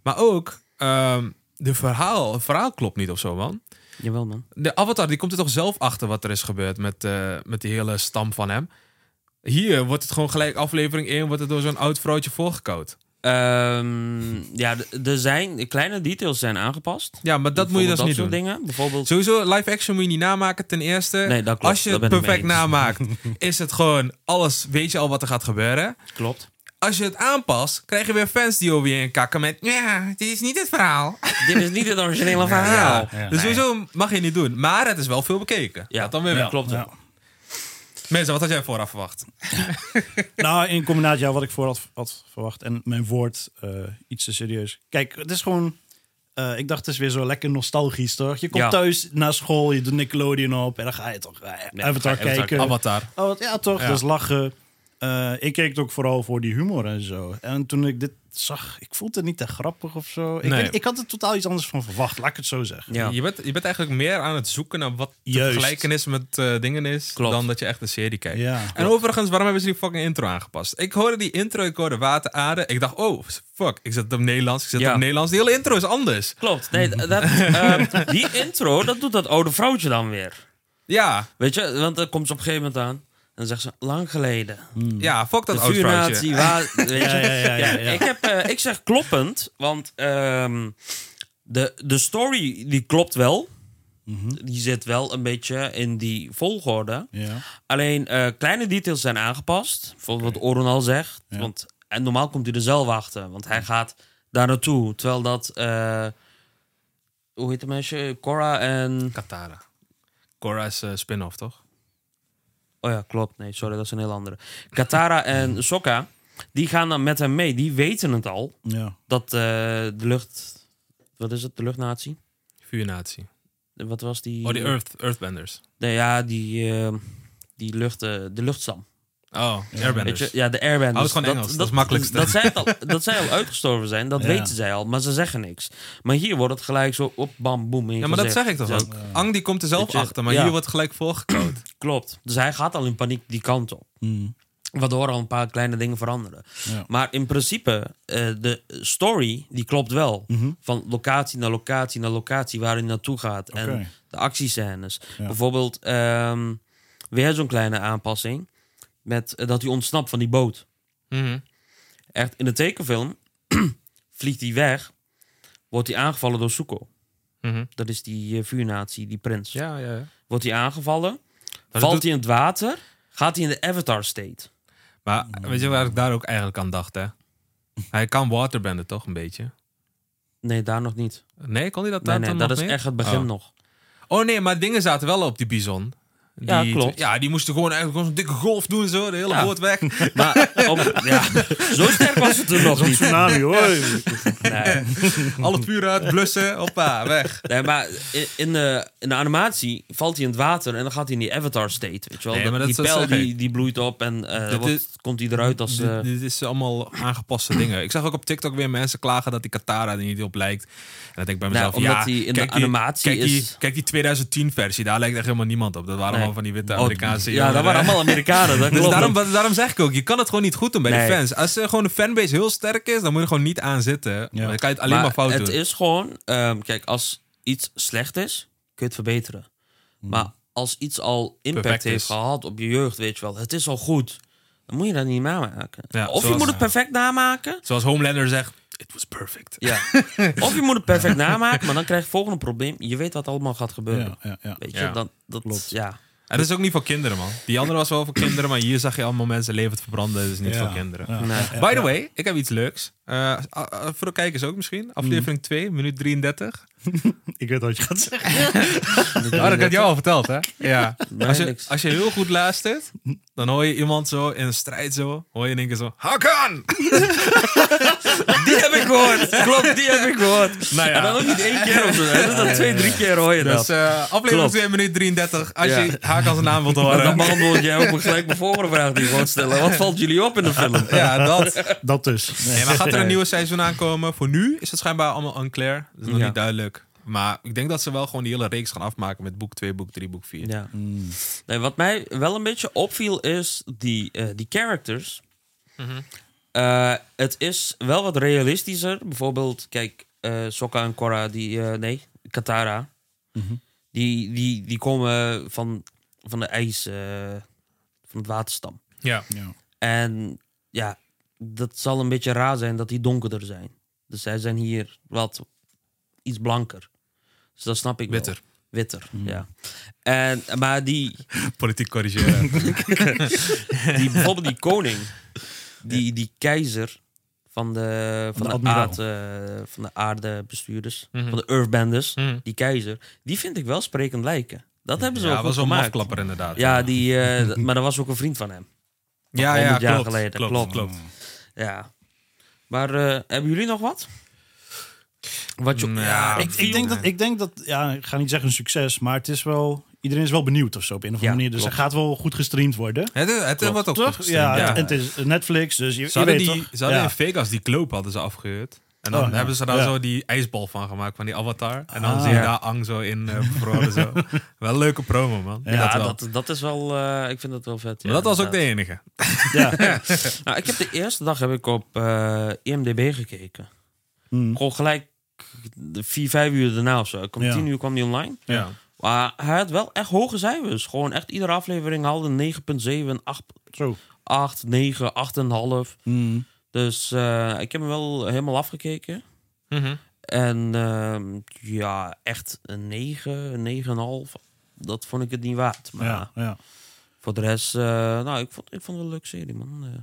Speaker 6: Maar ook, ehm, de verhaal, het verhaal klopt niet of zo, man.
Speaker 7: Jawel, man.
Speaker 6: De Avatar die komt er toch zelf achter wat er is gebeurd met, eh, met die hele stam van hem. Hier wordt het gewoon gelijk aflevering 1, wordt het door zo'n oud vrouwtje voorgekoud.
Speaker 7: Ehm, ja, d- er zijn kleine details zijn aangepast.
Speaker 6: Ja, maar dat moet je dus
Speaker 7: Bijvoorbeeld
Speaker 6: niet doen.
Speaker 7: soort dingen. Bijvoorbeeld,
Speaker 6: Sowieso, live action moet je niet namaken ten eerste.
Speaker 7: Nee, dat klopt.
Speaker 6: Als je
Speaker 7: Dat
Speaker 6: het
Speaker 7: ben ik mee
Speaker 6: perfect
Speaker 7: eens.
Speaker 6: namaakt, is het gewoon alles, weet je al wat er gaat gebeuren.
Speaker 7: klopt.
Speaker 6: Als je het aanpast, krijg je weer fans die over je heen kakken met... Ja, dit is niet het verhaal.
Speaker 7: Dit is niet het originele verhaal.
Speaker 6: Ja, Dus sowieso mag je niet doen. Maar het is wel veel bekeken. Ja,
Speaker 7: Ja,
Speaker 6: dat dan weer
Speaker 7: ja,
Speaker 6: wel.
Speaker 7: klopt.
Speaker 8: Ja.
Speaker 6: Mensen, wat had jij vooraf verwacht?
Speaker 8: Nou, in combinatie ja, wat ik voor had, had verwacht en mijn woord eh, iets te serieus. Kijk, het is gewoon. eh, ik dacht, het is weer zo lekker nostalgisch, toch? Je komt
Speaker 7: Ja.
Speaker 8: thuis na school, je doet Nickelodeon op en dan ga je toch eh, Avatar
Speaker 7: ga je Avatar-
Speaker 8: kijken.
Speaker 6: Avatar.
Speaker 8: Oh, wat- ja, toch?
Speaker 6: Ja.
Speaker 8: Dat is lachen. Eh, ik keek het ook vooral voor die humor en zo. En toen ik dit zag, ik voelde het niet te grappig of zo. Ik,
Speaker 6: Nee.
Speaker 8: weet- ik had er totaal iets anders van verwacht, laat ik het zo zeggen.
Speaker 7: Ja.
Speaker 6: Je, bent, je bent eigenlijk meer aan het zoeken naar wat de
Speaker 8: Juist.
Speaker 6: gelijkenis met eh, dingen is...
Speaker 7: Klopt.
Speaker 6: dan dat je echt de serie kijkt.
Speaker 8: Ja.
Speaker 6: En overigens, waarom hebben ze die fucking intro aangepast? Ik hoorde die intro, ik hoorde water, aarde. Ik dacht, oh, fuck, ik zet het op Nederlands, ik zet het
Speaker 7: Ja.
Speaker 6: op Nederlands. Die hele intro is anders.
Speaker 7: Klopt. Nee, d- dat, eh, die intro, dat doet dat oude vrouwtje dan weer.
Speaker 6: Ja,
Speaker 7: Weet je, want dan komt ze op een gegeven moment aan. En dan zegt ze, lang geleden.
Speaker 6: ja, fuck dat
Speaker 7: Hmm. De
Speaker 6: oud vrouwtje.
Speaker 7: vuurnatie, waar... weet je.
Speaker 8: Ja, ja, ja, ja, ja.
Speaker 7: Ik, heb, eh, ik zeg kloppend, want ehm, de, de story die klopt wel.
Speaker 6: Mhm.
Speaker 7: Die zit wel een beetje in die volgorde.
Speaker 8: Ja.
Speaker 7: Alleen eh, kleine details zijn aangepast. Bijvoorbeeld wat Oron al zegt. Want, en normaal komt hij er zelf achter. Want hij gaat daar naartoe. Terwijl dat... eh, hoe heet de meisje? Cora en...
Speaker 6: Katara. Korra is eh, spin-off, toch?
Speaker 7: Oh ja, klopt. Nee, sorry, dat is een heel andere. Katara en Sokka, die gaan dan met hem mee. Die weten het al.
Speaker 8: ja.
Speaker 7: Dat eh, de lucht... Wat is het? De luchtnatie?
Speaker 6: Vuurnatie.
Speaker 7: Wat was die?
Speaker 6: Oh, die Earth, Earthbenders.
Speaker 7: Nee, ja, die... eh, die lucht, eh, de luchtstam.
Speaker 6: Oh,
Speaker 7: Weet
Speaker 6: Airbenders.
Speaker 7: je, ja, de airbenders.
Speaker 6: Houd gewoon Engels, dat is het makkelijkste.
Speaker 7: Dat zij, het al, dat zij al uitgestorven zijn, dat
Speaker 8: Ja.
Speaker 7: weten zij al, maar ze zeggen niks. Maar hier wordt het gelijk zo op bam, boem. in je
Speaker 6: Ja, maar dat zeg
Speaker 7: gezicht.
Speaker 6: ik toch
Speaker 7: Ja,
Speaker 6: ook. Ang die komt er zelf
Speaker 7: Weet je,
Speaker 6: achter, maar
Speaker 7: ja.
Speaker 6: hier wordt gelijk volgekloot.
Speaker 7: Klopt. Dus hij gaat al in paniek die kant op.
Speaker 8: Mm,
Speaker 7: Waardoor al een paar kleine dingen veranderen.
Speaker 8: Ja.
Speaker 7: Maar in principe, eh, de story die klopt wel.
Speaker 6: Mhm.
Speaker 7: Van locatie naar locatie naar locatie waar hij naartoe gaat.
Speaker 8: Oké.
Speaker 7: En de actiescènes.
Speaker 8: Ja.
Speaker 7: Bijvoorbeeld, ehm, weer zo'n kleine aanpassing. Met eh, dat hij ontsnapt van die boot.
Speaker 6: Mhm.
Speaker 7: Echt, in de tekenfilm vliegt hij weg. Wordt hij aangevallen door Suko.
Speaker 6: Mhm.
Speaker 7: Dat is die eh, vuurnatie, die prins.
Speaker 6: Ja, ja, ja.
Speaker 7: Wordt hij aangevallen.
Speaker 6: dat
Speaker 7: valt
Speaker 6: doet-
Speaker 7: hij in het water. Gaat hij in de avatar state.
Speaker 6: Maar
Speaker 7: Mm.
Speaker 6: weet je waar ik daar ook eigenlijk aan dacht, hè? Hij kan waterbenden toch, een beetje?
Speaker 7: Nee, daar nog niet.
Speaker 6: Nee, kon hij dat
Speaker 7: Nee,
Speaker 6: daar
Speaker 7: nee,
Speaker 6: toen
Speaker 7: dat
Speaker 6: nog
Speaker 7: is
Speaker 6: niet?
Speaker 7: echt het begin
Speaker 6: Oh.
Speaker 7: nog.
Speaker 6: Oh nee, maar dingen zaten wel op die bison. Die,
Speaker 7: Ja, klopt.
Speaker 6: Ja, die moesten gewoon eigenlijk gewoon zo'n dikke golf doen zo, de hele
Speaker 7: Ja.
Speaker 6: boot weg.
Speaker 7: Maar om- ja, zo sterk was het er nog niet.
Speaker 8: Tsunami, hoor.
Speaker 7: Nee,
Speaker 6: Al het vuur uit, blussen, hoppa, weg.
Speaker 7: nee, maar in, in de, in de animatie valt hij in het water en dan gaat hij in die avatar state. Weet je wel?
Speaker 6: Nee,
Speaker 7: Dat-
Speaker 6: maar dat
Speaker 7: die
Speaker 6: is wat
Speaker 7: pijl
Speaker 6: zeg ik.
Speaker 7: die, die bloeit op en eh,
Speaker 6: Dit
Speaker 7: wordt-
Speaker 6: is-
Speaker 7: komt hij eruit als... eh,
Speaker 6: Dit, dit is allemaal aangepaste dingen. Ik zag ook op TikTok weer mensen klagen dat die Katara er niet op lijkt. En dan denk ik bij mezelf,
Speaker 7: Nou, omdat
Speaker 6: ja,
Speaker 7: die in de
Speaker 6: kijk die-
Speaker 7: animatie
Speaker 6: kijk
Speaker 7: is-
Speaker 6: Die, kijk die 2010 versie, daar lijkt echt helemaal niemand op. Dat waren allemaal van die witte
Speaker 7: Oh,
Speaker 6: Amerikaanse
Speaker 7: Ja, dat
Speaker 6: jongeren.
Speaker 7: waren allemaal Amerikanen. Dat
Speaker 6: Dus
Speaker 7: klopt.
Speaker 6: daarom, wa- daarom zeg ik ook, je kan het gewoon niet goed doen bij
Speaker 7: Nee.
Speaker 6: die fans. Als eh, gewoon de fanbase heel sterk is, dan moet je er gewoon niet aan zitten. Dan kan je het alleen maar, fout
Speaker 7: het
Speaker 6: doen.
Speaker 7: is gewoon... ehm, kijk, als iets slecht is, kun je het verbeteren. Maar als iets al impact
Speaker 6: Hmm. Perfect
Speaker 7: heeft
Speaker 6: is.
Speaker 7: gehad op je jeugd, weet je wel... Het is al goed. Dan moet je dat niet namaken.
Speaker 6: Ja,
Speaker 7: of je
Speaker 6: zoals-
Speaker 7: moet het perfect namaken.
Speaker 6: Zoals Homelander zegt, it was perfect.
Speaker 7: Ja. of je moet het perfect namaken, maar dan krijg je het volgende probleem. Je weet wat allemaal gaat gebeuren.
Speaker 8: Ja, ja, ja.
Speaker 7: Weet je,
Speaker 6: Ja.
Speaker 7: dat, dat ja.
Speaker 6: En dat is ook niet voor kinderen, man. Die andere was wel voor kinderen, maar hier zag je allemaal mensen levend verbranden. Dat is niet
Speaker 8: Ja,
Speaker 6: voor kinderen.
Speaker 8: ja.
Speaker 7: Nee.
Speaker 6: By the way, ik heb iets leuks. Eh, a- a- voor de kijkers ook misschien. Aflevering 2, minuut 33.
Speaker 8: Ik weet wat je gaat zeggen.
Speaker 6: Oh, dat had jou al verteld, hè? Ja.
Speaker 7: Nee,
Speaker 6: Als je,
Speaker 7: niks.
Speaker 6: als je heel goed luistert, dan hoor je iemand zo in een strijd zo. Hoor je in één keer zo, Hakan!
Speaker 7: Die heb ik gehoord. Klopt, die heb ik gehoord.
Speaker 6: Nou ja.
Speaker 7: En dan ook niet één keer of zo. Dat is dan twee, drie keer hoor je dat.
Speaker 6: Dus eh, aflevering
Speaker 7: Klopt.
Speaker 6: 2, minuut 33. Als
Speaker 7: Ja.
Speaker 6: je Hakan zijn naam wilt
Speaker 7: Maar dan
Speaker 6: horen.
Speaker 7: beantwoord jij ook gelijk mijn volgende vraag die ik wou stellen. Wat valt jullie op in de film?
Speaker 6: Ja, dat.
Speaker 8: Dat dus.
Speaker 6: Nee, maar gaat er een nieuwe seizoen aankomen? Voor nu is het schijnbaar allemaal unclear. Dat is nog
Speaker 7: Ja.
Speaker 6: niet duidelijk. Maar ik denk dat ze wel gewoon die hele reeks gaan afmaken met boek 2, boek 3, boek 4.
Speaker 7: Ja. Nee, wat mij wel een beetje opviel is die, eh, die characters. Eh, het is wel wat realistischer. Bijvoorbeeld, kijk, eh Sokka en Korra, die, eh, nee, Katara. Die, die, die komen van, van de ijs, eh, van het waterstam.
Speaker 6: Ja.
Speaker 7: En ja, dat zal een beetje raar zijn dat die donkerder zijn. Dus zij zijn hier wat iets blanker. Dus dat snap ik wel.
Speaker 6: Witter.
Speaker 7: Witter, ja. En, maar die,
Speaker 6: Politiek corrigeren.
Speaker 7: die, bijvoorbeeld die koning, die, die keizer van de, van
Speaker 8: de
Speaker 7: de,
Speaker 8: admiraal.
Speaker 7: aard, eh, van de aardebestuurders,
Speaker 6: Mhm.
Speaker 7: van de earthbenders,
Speaker 6: Mhm.
Speaker 7: die keizer, die vind ik wel sprekend lijken. Dat hebben ze
Speaker 6: ja,
Speaker 7: wel
Speaker 6: was
Speaker 7: goed
Speaker 6: wel een
Speaker 7: gemaakt.
Speaker 6: mafklapper inderdaad.
Speaker 7: Ja, die, eh, d- maar dat was ook een vriend van hem.
Speaker 6: ja,
Speaker 7: 100 jaar
Speaker 6: klopt,
Speaker 7: geleden, klopt.
Speaker 6: klopt.
Speaker 7: Ja. Maar eh, hebben jullie nog wat? Mm, Wat je,
Speaker 6: Nou,
Speaker 8: Ik, ik, denk dat, ik denk dat, ja, ik ga niet zeggen een succes, maar het is wel, iedereen is wel benieuwd of zo op een of andere
Speaker 7: Ja,
Speaker 8: manier. Dus
Speaker 7: klopt.
Speaker 8: hij gaat wel goed gestreamd worden.
Speaker 6: Het, het wordt ook goed
Speaker 8: Toch?
Speaker 6: gestreamd,
Speaker 8: Ja,
Speaker 6: ja.
Speaker 8: En het is Netflix, dus je,
Speaker 6: Ze
Speaker 8: je
Speaker 6: hadden,
Speaker 8: weet
Speaker 6: die,
Speaker 8: toch?
Speaker 6: ze hadden
Speaker 8: ja.
Speaker 6: in Vegas die gloop hadden ze afgehuurd. En dan
Speaker 8: Oh, ja.
Speaker 6: hebben ze daar
Speaker 8: Ja.
Speaker 6: zo die ijsbal van gemaakt, van die avatar. En dan
Speaker 8: Ah.
Speaker 6: zie je
Speaker 7: Ja.
Speaker 6: daar Ang zo in eh, bevroren. zo. Wel een leuke promo, man.
Speaker 7: ja,
Speaker 6: wel.
Speaker 7: dat, dat is wel... eh, ik vind dat wel vet.
Speaker 6: maar
Speaker 7: ja,
Speaker 6: dat was ook de
Speaker 7: inderdaad.
Speaker 6: enige.
Speaker 8: ja.
Speaker 7: Nou, ik heb de eerste dag heb ik op eh, IMDB gekeken.
Speaker 6: Mm.
Speaker 8: Hmm.
Speaker 7: Gewoon gelijk de vier, vijf uur daarna of zo. Ik Om
Speaker 8: Ja.
Speaker 7: tien uur kwam die online.
Speaker 6: Ja.
Speaker 7: Maar hij had wel echt hoge cijfers. Gewoon echt iedere aflevering haalde 9,7, 8,
Speaker 8: Zo.
Speaker 7: 8, 9, 8,5.
Speaker 8: Hmm.
Speaker 7: Dus eh, ik heb hem wel helemaal afgekeken.
Speaker 6: Mhm.
Speaker 7: En ehm, ja, echt een 9, 9,5. Dat vond ik het niet waard. Maar
Speaker 8: Ja, ja.
Speaker 7: voor de rest, eh, nou, ik vond, ik vond het wel een leuke serie, man. Eh,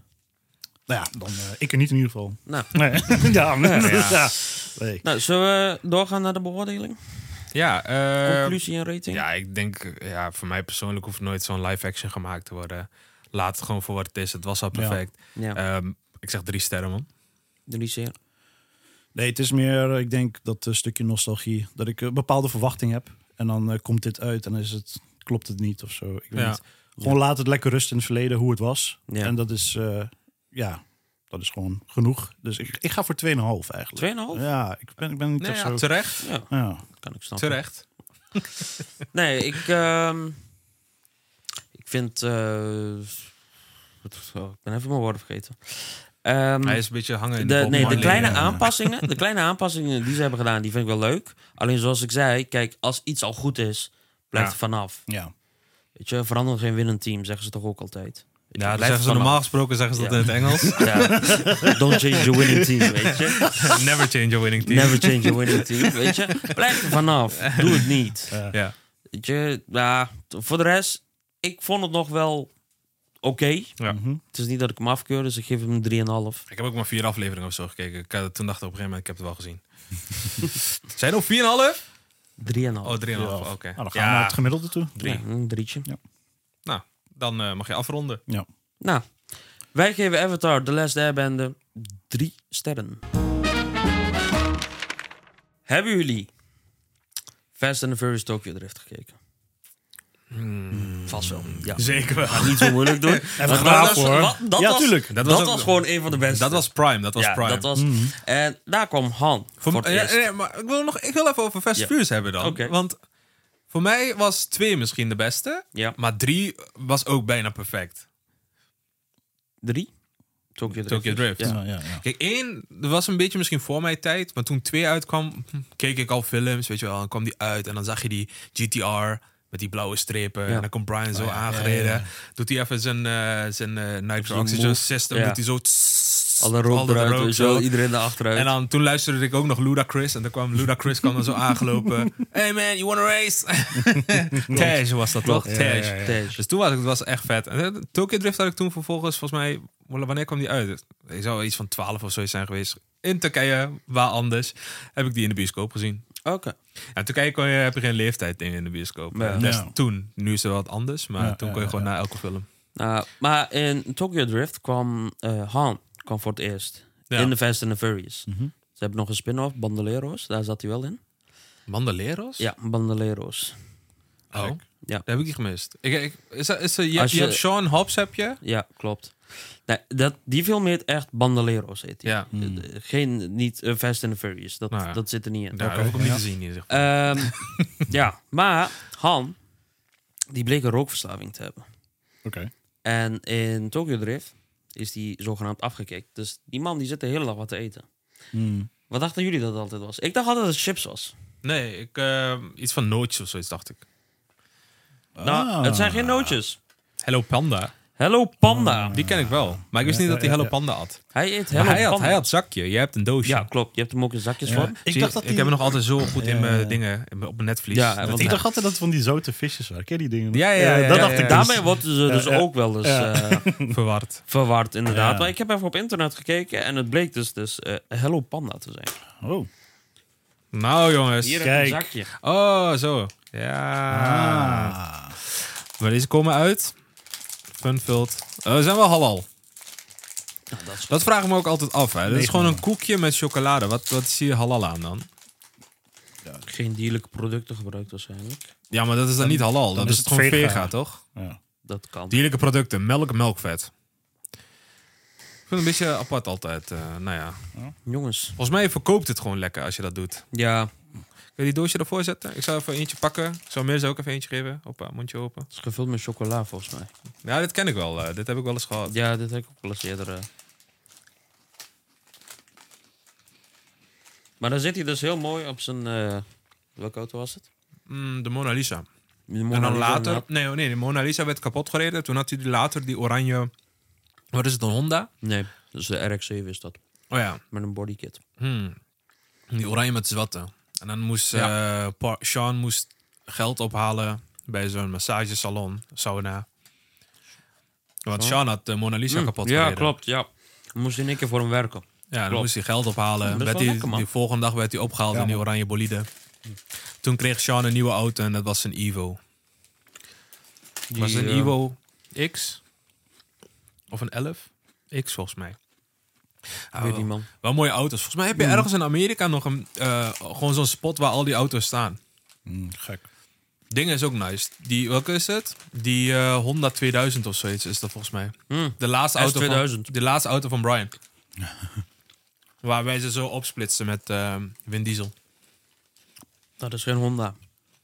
Speaker 8: Nou ja, dan eh, ik er niet in ieder geval.
Speaker 7: nou.
Speaker 8: Nee. ja, maar-
Speaker 6: Ja.
Speaker 8: ja. Nee.
Speaker 7: nou, zullen we doorgaan naar de beoordeling?
Speaker 6: Ja, eh,
Speaker 7: Conclusie en rating?
Speaker 6: ja, ik denk, eh, ja, voor mij persoonlijk hoeft nooit zo'n live action gemaakt te worden. Laat het gewoon voor wat het is. Het was al perfect.
Speaker 7: Ja,
Speaker 6: Ehm, ik zeg drie sterren, man.
Speaker 7: drie zeer.
Speaker 8: Nee, het is meer, eh, ik denk, dat eh, stukje nostalgie. Dat ik eh, bepaalde verwachting heb. En dan eh, komt dit uit en dan is het, klopt het niet of zo. Ik weet
Speaker 6: Ja.
Speaker 8: niet. Gewoon laat het lekker rusten in het verleden hoe het was.
Speaker 7: Ja.
Speaker 8: En dat is, eh, ja, dat is gewoon genoeg. Dus ik, ik ga voor 2,5 eigenlijk.
Speaker 7: 2,5?
Speaker 8: Ja, ik ben, ik ben niet
Speaker 6: Nee,
Speaker 8: echt
Speaker 6: Nou ja,
Speaker 8: zo...
Speaker 6: terecht.
Speaker 7: Ja,
Speaker 8: ja.
Speaker 7: kan ik snappen.
Speaker 6: Terecht.
Speaker 7: Nee, ik, ehm, ik vind... eh, wat- oh, ik ben even mijn woorden vergeten. Ehm,
Speaker 6: Hij is een beetje hangen
Speaker 7: de,
Speaker 6: in de, Bob
Speaker 7: nee, de
Speaker 6: Marley,
Speaker 7: kleine
Speaker 6: eh,
Speaker 7: aanpassingen, de kleine aanpassingen die ze hebben gedaan, die vind ik wel leuk. Alleen zoals ik zei, kijk, als iets al goed is, blijft
Speaker 6: Ja.
Speaker 7: er vanaf.
Speaker 8: ja. Nou,
Speaker 7: Weet je, verander geen winnend team, zeggen ze toch ook altijd. Weet je,
Speaker 6: Ja, dat
Speaker 7: blijf
Speaker 6: zeggen ze
Speaker 7: er
Speaker 6: normaal
Speaker 7: vanaf.
Speaker 6: gesproken zeggen ze dat
Speaker 7: Ja.
Speaker 6: in het Engels.
Speaker 7: Ja. Don't change your winning team, weet je.
Speaker 6: Never change a winning team.
Speaker 7: Never change your winning team, weet je. Blijf er vanaf, doe het niet.
Speaker 6: Ja.
Speaker 7: Weet je, ja, t- voor de rest, ik vond het nog wel oké.
Speaker 6: Ja.
Speaker 8: Mhm.
Speaker 7: Het is niet dat ik hem afkeur, dus ik geef hem een 3,5.
Speaker 6: Ik heb ook maar vier afleveringen of zo gekeken. Ik, eh, toen dacht ik op een gegeven moment, ik heb het wel gezien. Zijn er nog 4,5?
Speaker 7: 3,5.
Speaker 6: Oh, 3,5. Oké.
Speaker 8: Nou, dan gaan we naar
Speaker 6: Ja,
Speaker 8: het gemiddelde toe.
Speaker 7: Ja, een drietje.
Speaker 6: dan eh, mag je afronden.
Speaker 8: Ja.
Speaker 7: Nou, wij geven Avatar The Last Airbender drie sterren. Hebben jullie Fast and the Furious Tokyo Drift gekeken? Vast wel. Ja.
Speaker 6: Hmm. Zeker wel.
Speaker 7: Ga Niet zo moeilijk doen. Even
Speaker 8: graag, hoor.
Speaker 7: dat
Speaker 8: Ja,
Speaker 7: was,
Speaker 8: tuurlijk.
Speaker 7: Dat,
Speaker 6: Dat was
Speaker 7: was,
Speaker 6: ook- Mm,
Speaker 7: gewoon een van de beste.
Speaker 6: Dat was Prime. Dat was
Speaker 7: ja,
Speaker 6: Prime. Mm.
Speaker 7: Dat was, En daar kwam Han voor,
Speaker 6: Voor-
Speaker 7: het
Speaker 6: ja,
Speaker 7: eerst.
Speaker 6: nee, maar ik wil, nog, ik wil even over Fast
Speaker 7: Ja.
Speaker 6: Furious hebben dan.
Speaker 7: Oké.
Speaker 6: Want voor mij was 2 misschien de beste.
Speaker 7: Ja.
Speaker 6: Maar 3 was ook bijna perfect.
Speaker 7: Drie? Tokyo Drift.
Speaker 6: Tokyo Drift.
Speaker 7: Ja.
Speaker 8: Ja, ja, ja.
Speaker 6: Kijk, één dat was een beetje misschien voor mijn tijd. Maar toen twee uitkwam, hm, keek ik al films, weet je wel. Dan kwam die uit en dan zag je die GTR met die blauwe strepen.
Speaker 7: Ja.
Speaker 6: En dan komt Brian zo aangereden. Doet hij even zijn, eh zijn eh nitrous
Speaker 7: Zo'n
Speaker 6: oxygen
Speaker 7: move.
Speaker 6: system.
Speaker 7: Ja.
Speaker 6: Doet hij zo... tss,
Speaker 7: Alle rook
Speaker 6: al de
Speaker 7: eruit,
Speaker 6: rook
Speaker 7: weet je wel, iedereen erachteruit.
Speaker 6: En dan, toen luisterde ik ook nog Ludacris. En dan kwam Ludacris kwam dan zo aangelopen. Hey man, you wanna race? Tej was dat toch?
Speaker 7: Klopt.
Speaker 6: Tej.
Speaker 7: Ja, ja, ja. Tej.
Speaker 6: Dus toen was het was echt vet. En eh, Tokyo Drift had ik toen vervolgens, volgens mij... Wanneer kwam die uit? Ik zou iets van 12 of zoiets zijn geweest. In Turkije, waar anders, heb ik die in de bioscoop gezien.
Speaker 7: Oké.
Speaker 6: Ja, in Turkije kon je, heb je geen leeftijd in, in de bioscoop.
Speaker 7: Ja.
Speaker 6: Dus
Speaker 8: Ja.
Speaker 6: toen. Nu is er wat anders. Maar
Speaker 8: Ja,
Speaker 6: toen
Speaker 8: ja,
Speaker 6: kon je
Speaker 8: ja,
Speaker 6: gewoon naar elke film.
Speaker 7: Nou, maar in Tokyo Drift kwam eh, Han kwam voor het eerst.
Speaker 6: Ja. Mhm.
Speaker 7: In The Fast and the Furious. Ze hebben nog een spin-off, Bandoleros. Daar zat hij wel in.
Speaker 6: Mandaleros?
Speaker 7: Ja, Bandoleros.
Speaker 6: Oh.
Speaker 7: Ja.
Speaker 6: Ja. Daar heb ik die gemist. Ik, ik, is dat, is dat- je,
Speaker 7: Als
Speaker 6: je
Speaker 7: je-
Speaker 6: hebt Sean Hobbs, heb je?
Speaker 7: Ja, klopt. Nee, dat, die film heet echt Bandoleros. Heet die.
Speaker 6: Ja. Mm.
Speaker 8: Hmm.
Speaker 7: Eh, eh, Geen, niet eh, Fast and the Furious. Dat,
Speaker 6: Nou ja.
Speaker 7: dat zit er niet in.
Speaker 6: Daar heb ik hem niet gezien. Hier, zeg.
Speaker 7: Ehm, ja, maar Han, die bleek een rookverslaving te hebben.
Speaker 8: Oké.
Speaker 7: En in Tokyo Drift is die zogenaamd afgekikt. Dus die man die zit de hele dag wat te eten.
Speaker 8: Hmm.
Speaker 7: Wat dachten jullie dat het altijd was? Ik dacht altijd dat het chips was.
Speaker 6: Nee, ik, eh, iets van nootjes of zoiets dacht ik.
Speaker 7: Nou,
Speaker 8: Ah.
Speaker 7: het zijn geen nootjes.
Speaker 6: Hello Panda.
Speaker 7: Hello Panda.
Speaker 6: Ah, Die ken ik wel. Maar ik wist
Speaker 8: Ja,
Speaker 6: niet dat
Speaker 8: ja,
Speaker 6: hij Hello
Speaker 8: ja.
Speaker 6: Panda had.
Speaker 7: Hij eet
Speaker 6: Oh. Maar
Speaker 7: Hello
Speaker 6: hij had,
Speaker 7: Panda.
Speaker 6: hij had zakje. Jij hebt een doosje.
Speaker 7: Ja, klopt. Je hebt hem ook in zakjes
Speaker 8: Ja.
Speaker 7: voor.
Speaker 8: Ik
Speaker 6: Zie
Speaker 8: dacht
Speaker 6: je,
Speaker 8: dat die-
Speaker 6: ik heb hem nog altijd zo goed in
Speaker 8: Ja,
Speaker 6: mijn
Speaker 8: ja.
Speaker 6: dingen, in mijn- op mijn netvlies.
Speaker 7: Ja,
Speaker 6: Dat-
Speaker 7: want
Speaker 8: Ik
Speaker 7: hij-
Speaker 8: dacht altijd dat het van die zoute visjes waren. Ken je die dingen? nog?
Speaker 6: Ja, ja, ja,
Speaker 8: Eh, dat
Speaker 6: ja,
Speaker 8: dacht
Speaker 6: ja,
Speaker 8: ik
Speaker 6: ja.
Speaker 8: dus.
Speaker 7: Daarmee wordt ze dus
Speaker 8: Ja, ja.
Speaker 7: ook wel eens
Speaker 8: Ja.
Speaker 7: eh,
Speaker 6: verward.
Speaker 7: verward, inderdaad.
Speaker 8: Ja.
Speaker 7: Maar ik heb even op internet gekeken en het bleek dus, dus eh, Hello Panda te zijn.
Speaker 8: Oh.
Speaker 6: Nou jongens.
Speaker 7: Hier
Speaker 8: Kijk.
Speaker 7: heb je een zakje.
Speaker 6: Oh, zo. Ja.
Speaker 8: Ah.
Speaker 6: Maar deze komen uit. Funfilled. Eh, Ze zijn wel halal.
Speaker 7: dat is-
Speaker 6: Dat vraag ik me ook altijd af. Hè. Dat is gewoon een koekje met chocolade. Wat, wat zie je halal aan dan?
Speaker 7: Geen dierlijke producten gebruikt waarschijnlijk.
Speaker 6: Ja, maar dat is dan, niet halal. Dan
Speaker 8: dan
Speaker 6: dat is
Speaker 8: is
Speaker 6: het
Speaker 8: het
Speaker 6: gewoon vega,
Speaker 8: vega.
Speaker 6: toch?
Speaker 8: Ja.
Speaker 7: Dat kan.
Speaker 6: Dierlijke producten. Melk, melkvet. Ik vind het een beetje apart altijd. eh, nou ja.
Speaker 7: Jongens.
Speaker 6: Volgens mij verkoopt het gewoon lekker als je dat doet.
Speaker 7: Ja,
Speaker 6: Kun je die doosje ervoor zetten? Ik zou even eentje pakken. Ik zou Mirza ook even eentje geven. Hoppa, mondje open.
Speaker 7: het is gevuld met chocola volgens mij.
Speaker 6: Ja, dit ken ik wel. eh, dit heb ik wel eens gehad.
Speaker 7: Ja, dit heb ik ook wel eens eerder. eh. Maar dan zit hij dus heel mooi op zijn. eh, welke auto was het?
Speaker 6: Mm, de Mona Lisa.
Speaker 7: De Mona
Speaker 6: En dan
Speaker 7: Lisa
Speaker 6: later...
Speaker 7: inderdaad.
Speaker 6: Nee, nee, de Mona Lisa werd kapot gereden. Toen had hij die later die oranje... Wat is het, een Honda?
Speaker 7: Nee, dus de RX-7 is dat.
Speaker 6: Oh ja.
Speaker 7: Met een bodykit.
Speaker 6: Hmm. Die oranje met zwarte. En dan moest eh Pa- Sean moest geld ophalen bij zo'n massagesalon, sauna. Want Sean had de Mona Lisa kapot
Speaker 7: Oh. Mm. Ja,
Speaker 6: gereden.
Speaker 7: klopt. Ja. Dan moest hij in één keer voor hem werken.
Speaker 6: Ja, dan
Speaker 7: Klopt.
Speaker 6: moest hij geld ophalen.
Speaker 7: Dat is
Speaker 6: werd
Speaker 7: wel
Speaker 6: hij-
Speaker 7: lekker, man.
Speaker 6: die volgende dag werd hij opgehaald in die oranje bolide. Toen kreeg Sean een nieuwe auto en dat was een Evo.
Speaker 7: Die,
Speaker 6: was het een
Speaker 7: eh,
Speaker 6: Evo X? Of een 11? X volgens mij. Ah,
Speaker 7: Weet
Speaker 6: wel-
Speaker 7: die man.
Speaker 6: Wel mooie auto's. Volgens mij heb je
Speaker 7: Mm.
Speaker 6: ergens in Amerika nog een, eh, gewoon zo'n spot waar al die auto's staan.
Speaker 8: Mm, gek.
Speaker 6: Ding is ook nice. Die, welke is het? Die eh, Honda 2000 of zoiets is dat volgens mij.
Speaker 7: Hm.
Speaker 6: De laatste, auto van,
Speaker 7: S2000.
Speaker 6: de laatste auto van Brian. waar wij ze zo opsplitsen met eh Vin Diesel.
Speaker 7: Dat is geen Honda.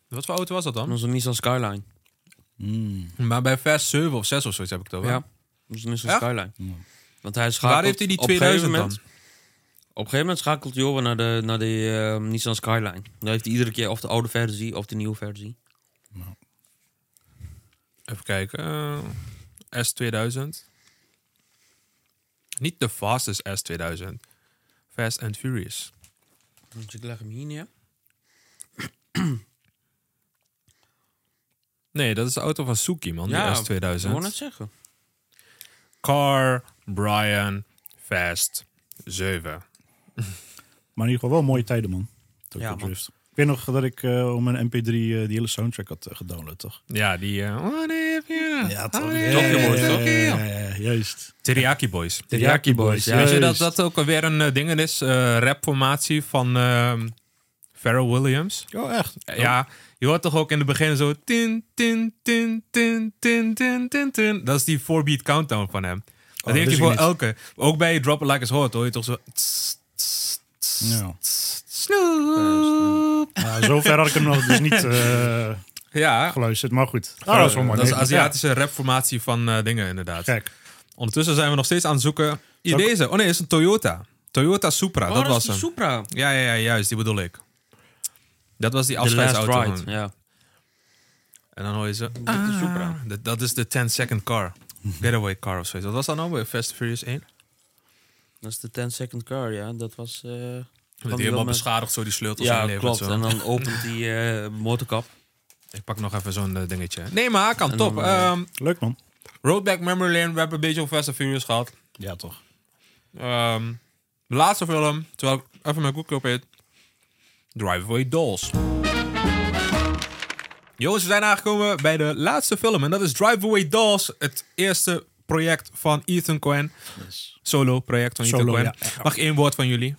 Speaker 6: Wat voor auto was dat
Speaker 7: Dat
Speaker 6: dan?
Speaker 7: is een Nissan Skyline.
Speaker 8: Hmm.
Speaker 6: Maar bij vers 7 of 6 of zoiets heb ik dat wel.
Speaker 7: Hmm. Ja. Dat is een Nissan
Speaker 6: Echt?
Speaker 7: Skyline. Want hij schakelt.
Speaker 6: Waar heeft hij die
Speaker 7: op een gegeven
Speaker 6: 2000
Speaker 7: moment-
Speaker 6: dan?
Speaker 7: Op een gegeven moment schakelt hij over naar de, naar de eh, Nissan Skyline. Dan heeft hij iedere keer of de oude versie of de nieuwe versie.
Speaker 6: Even kijken. eh, S2000. Niet de fastest S2000. Fast and Furious.
Speaker 7: Dus ik leg hem hier neer.
Speaker 6: Nee, dat is de auto van Suki, man.
Speaker 7: Ja,
Speaker 6: die S2000.
Speaker 7: Ik wou net zeggen.
Speaker 6: Car, Brian, Fast, 7.
Speaker 8: Maar in ieder geval wel mooie tijden, man. Tokyo
Speaker 7: Ja, man.
Speaker 8: Drift. Ik weet nog dat ik eh, om een mp3 eh, die hele soundtrack had eh, gedownload, toch?
Speaker 6: Ja, die... eh, What if you-
Speaker 7: Tokyo Boys,
Speaker 8: ja,
Speaker 7: toch?
Speaker 8: ja, ja, ja, juist.
Speaker 6: Teriyaki Boys.
Speaker 8: Teriyaki Boys,
Speaker 6: Weet je dat
Speaker 8: juist.
Speaker 6: dat ook weer een eh, ding is? eh rapformatie van ehm Pharrell Williams.
Speaker 8: Oh, echt?
Speaker 6: Ja, je hoort toch ook in het begin zo... Tin, tin, tin, tin, tin, tin, tin, tin. Dat is die 4-beat countdown van hem. Dat
Speaker 8: Oh, dat
Speaker 6: heeft hij
Speaker 8: wist ik
Speaker 6: voor
Speaker 8: niet.
Speaker 6: elke. Ook bij Drop It Like It's Hot hoor je toch zo... tss, tss, tss,
Speaker 8: Ja.
Speaker 6: tss, Snoop.
Speaker 8: Nou, zover had ik hem nog dus niet eh,
Speaker 6: Ja,
Speaker 8: geluisterd, maar goed. Oh,
Speaker 6: Ah, dat is de
Speaker 8: Nee,
Speaker 6: Aziatische rapformatie van eh, dingen inderdaad.
Speaker 8: ja, Gek.
Speaker 6: Ondertussen zijn we nog steeds aan het zoeken. Hier, deze. Oh nee, het is een Toyota. Toyota Supra,
Speaker 7: Oh,
Speaker 6: dat, was
Speaker 7: is die
Speaker 6: hem.
Speaker 7: Supra.
Speaker 6: Ja, ja, ja, juist, die bedoel ik. Dat was die
Speaker 7: The Last
Speaker 6: afscheidsauto.
Speaker 7: Ride. Ja.
Speaker 6: En dan hoor je ze...
Speaker 7: Dit is Supra.
Speaker 6: Dat, dat is de 10-second car. Getaway car of zoiets. Wat was dat nou bij Fast and Furious 1?
Speaker 7: Dat is de 10 second car, ja. Dat was... eh,
Speaker 6: Dat
Speaker 7: van
Speaker 6: die
Speaker 7: die
Speaker 6: helemaal
Speaker 7: wel met-
Speaker 6: beschadigd zo die sleutels
Speaker 7: Ja,
Speaker 6: inlevert,
Speaker 7: klopt.
Speaker 6: zo.
Speaker 7: En dan opent die eh, motorkap.
Speaker 6: Ik pak nog even zo'n eh, dingetje. Nee, maar kan,
Speaker 7: En
Speaker 6: top.
Speaker 7: dan, eh,
Speaker 6: Ehm,
Speaker 8: Leuk, man.
Speaker 6: Roadback Memory Lane, we hebben een beetje over Fast and Furious gehad.
Speaker 8: Ja, toch.
Speaker 6: Ehm, de laatste film, terwijl ik even mijn koekje op eet. Driveaway Dolls. Jongens, we zijn aangekomen bij de laatste film. En dat is Driveaway Dolls. Het eerste project van Ethan Cohen. Solo project van Ethan
Speaker 8: Solo,
Speaker 6: Cohen.
Speaker 8: ja, ja, ja.
Speaker 6: Mag één woord van jullie?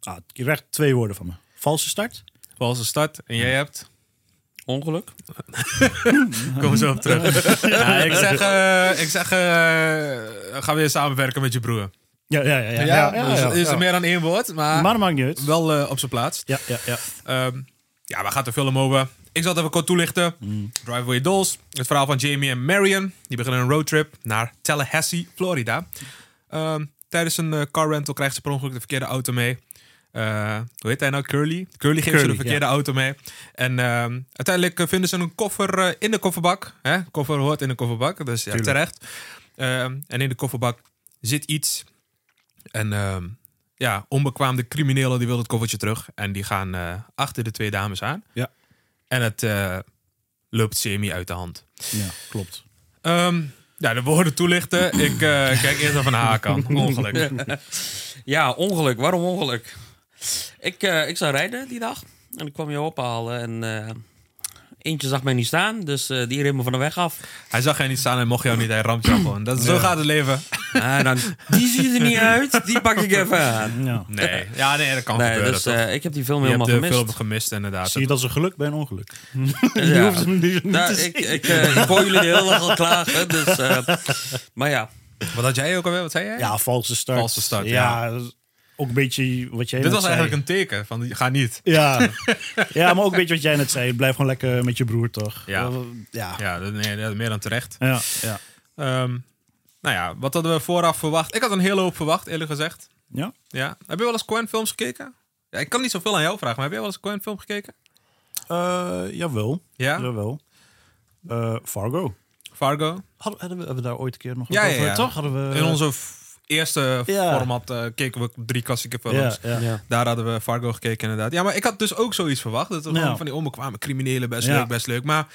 Speaker 8: Ah, je krijgt twee woorden van me. Valse start?
Speaker 6: Valse start. En jij hebt?
Speaker 7: Ongeluk.
Speaker 6: Kom zo op terug. ja, ik zeg, eh, ik zeg eh, ga weer samenwerken met je broer.
Speaker 8: Ja, ja, ja. ja,
Speaker 6: dus
Speaker 8: ja,
Speaker 6: is
Speaker 8: ja.
Speaker 6: er meer dan één woord, maar,
Speaker 8: Maar dat maakt niet uit.
Speaker 6: wel eh, op zijn plaats.
Speaker 8: Ja, ja, ja.
Speaker 6: Ehm, ja, waar gaat de film over? Ik zal het even kort toelichten. Driveway Dolls. Het verhaal van Jamie en Marion. Die beginnen een roadtrip naar Tallahassee, Florida. Ehm, tijdens een eh, car rental krijgt ze per ongeluk de verkeerde auto mee. eh, hoe heet hij nou? Curly. Curly geeft ze de
Speaker 8: Curly,
Speaker 6: verkeerde auto mee. En ehm, uiteindelijk eh, vinden ze een koffer eh, in de kofferbak. Hè? Koffer hoort in de kofferbak, dus ja,
Speaker 8: Tuurlijk.
Speaker 6: terecht. Ehm, en in de kofferbak zit iets. En ehm, ja, onbekwaamde criminelen die willen het koffertje terug. En die gaan eh, achter de twee dames aan.
Speaker 8: Ja.
Speaker 6: En het eh, loopt semi uit de hand.
Speaker 8: Ja, klopt.
Speaker 6: Ehm, ja, de woorden toelichten. Ik eh, kijk eerst even naar haar kant. Ongeluk.
Speaker 7: Ja, ongeluk. Waarom ongeluk? Ik, eh, ik zou rijden die dag. En ik kwam je ophalen. En eh, eentje zag mij niet staan. Dus eh, die reed me van de weg af.
Speaker 6: Hij zag jij niet staan en mocht jou niet. Hij ramt jou gewoon. Dat, zo gaat het leven.
Speaker 7: Ah, dan, die ziet er niet uit. Die pak ik even aan.
Speaker 8: Ja.
Speaker 6: Nee, ja, nee dat kan
Speaker 7: Nee,
Speaker 6: gebeuren.
Speaker 7: dus
Speaker 6: toch?
Speaker 7: eh, ik heb die film
Speaker 6: je hebt
Speaker 7: helemaal
Speaker 6: de
Speaker 7: gemist.
Speaker 6: film gemist, inderdaad.
Speaker 8: Zie je dat als een geluk bij een ongeluk?
Speaker 7: Ja.
Speaker 8: Je hoeft hem nu niet
Speaker 7: Nou,
Speaker 8: te
Speaker 7: ik,
Speaker 8: zien.
Speaker 7: ik, eh, ik hoor jullie de hele dag al klagen. Dus, eh, maar ja,
Speaker 6: Wat had jij ook alweer? Wat zei jij?
Speaker 8: Ja, valse start.
Speaker 6: Valse start,
Speaker 8: dat is Ook een beetje wat jij
Speaker 6: Dit
Speaker 8: net
Speaker 6: was eigenlijk
Speaker 8: zei.
Speaker 6: een teken van ga niet.
Speaker 8: Ja. ja, maar ook een beetje wat jij net zei. Blijf gewoon lekker met je broer, toch?
Speaker 6: Ja.
Speaker 8: Eh, Ja.
Speaker 6: Ja, dat- nee, dat- meer dan terecht.
Speaker 8: Ja, ja.
Speaker 6: Ehm, nou ja, wat hadden we vooraf verwacht? Ik had een hele hoop verwacht, eerlijk gezegd.
Speaker 8: Ja?
Speaker 6: Ja. Heb je wel eens Coen films gekeken? Ja, ik kan niet zoveel aan jou vragen, maar heb jij wel eens een Coen film gekeken?
Speaker 8: Eh, jawel.
Speaker 6: Ja?
Speaker 8: Jawel. Eh, Fargo.
Speaker 6: Fargo?
Speaker 8: Hadden, hadden we, hebben we daar ooit een keer nog
Speaker 6: Ja,
Speaker 8: wat
Speaker 6: ja,
Speaker 8: over?
Speaker 6: ja.
Speaker 8: Toch hadden we...
Speaker 6: In onze f- eerste
Speaker 8: Ja.
Speaker 6: format eh, keken we drie klassieke
Speaker 8: ja,
Speaker 6: films.
Speaker 8: ja.
Speaker 7: Ja.
Speaker 6: Daar hadden we Fargo gekeken inderdaad. Ja, maar ik had dus ook zoiets verwacht. Dat er
Speaker 8: Ja.
Speaker 6: gewoon van die onbekwame criminelen best
Speaker 8: Ja.
Speaker 6: leuk, best leuk. Maar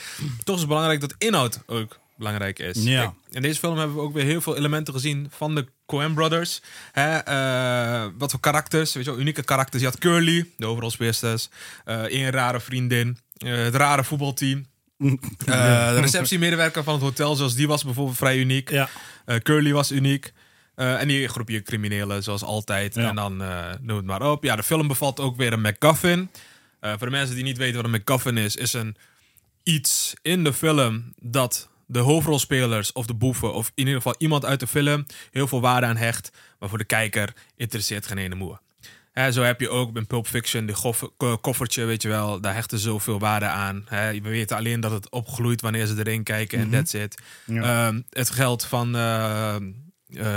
Speaker 6: toch is het belangrijk dat inhoud ook belangrijk is.
Speaker 8: Ja.
Speaker 6: Kijk, in deze film hebben we ook weer heel veel elementen gezien van de Coen Brothers. Hè, eh, wat voor karakters, weet je wel, unieke karakters. Je had Curly, de overalspeelsters. eh één rare vriendin. eh, het rare voetbalteam. Eh, de receptiemedewerker van het hotel, zoals die was bijvoorbeeld vrij uniek.
Speaker 8: Ja.
Speaker 6: Eh, Curly was uniek. Eh, en die groepje criminelen, zoals altijd.
Speaker 8: Ja.
Speaker 6: En dan eh, noem het maar op. Ja, de film bevat ook weer een MacGuffin. Eh, voor de mensen die niet weten wat een MacGuffin is, is een iets in de film dat de hoofdrolspelers of de boeven, of in ieder geval iemand uit de film, heel veel waarde aan hecht. Maar voor de kijker interesseert geen ene moe. Hè, zo heb je ook in Pulp Fiction, die gof- ko- koffertje, weet je wel, daar hechten ze zoveel waarde aan. Hè, we weten alleen dat het opgloeit wanneer ze erin kijken en that's it. Ehm, het geld van eh, eh,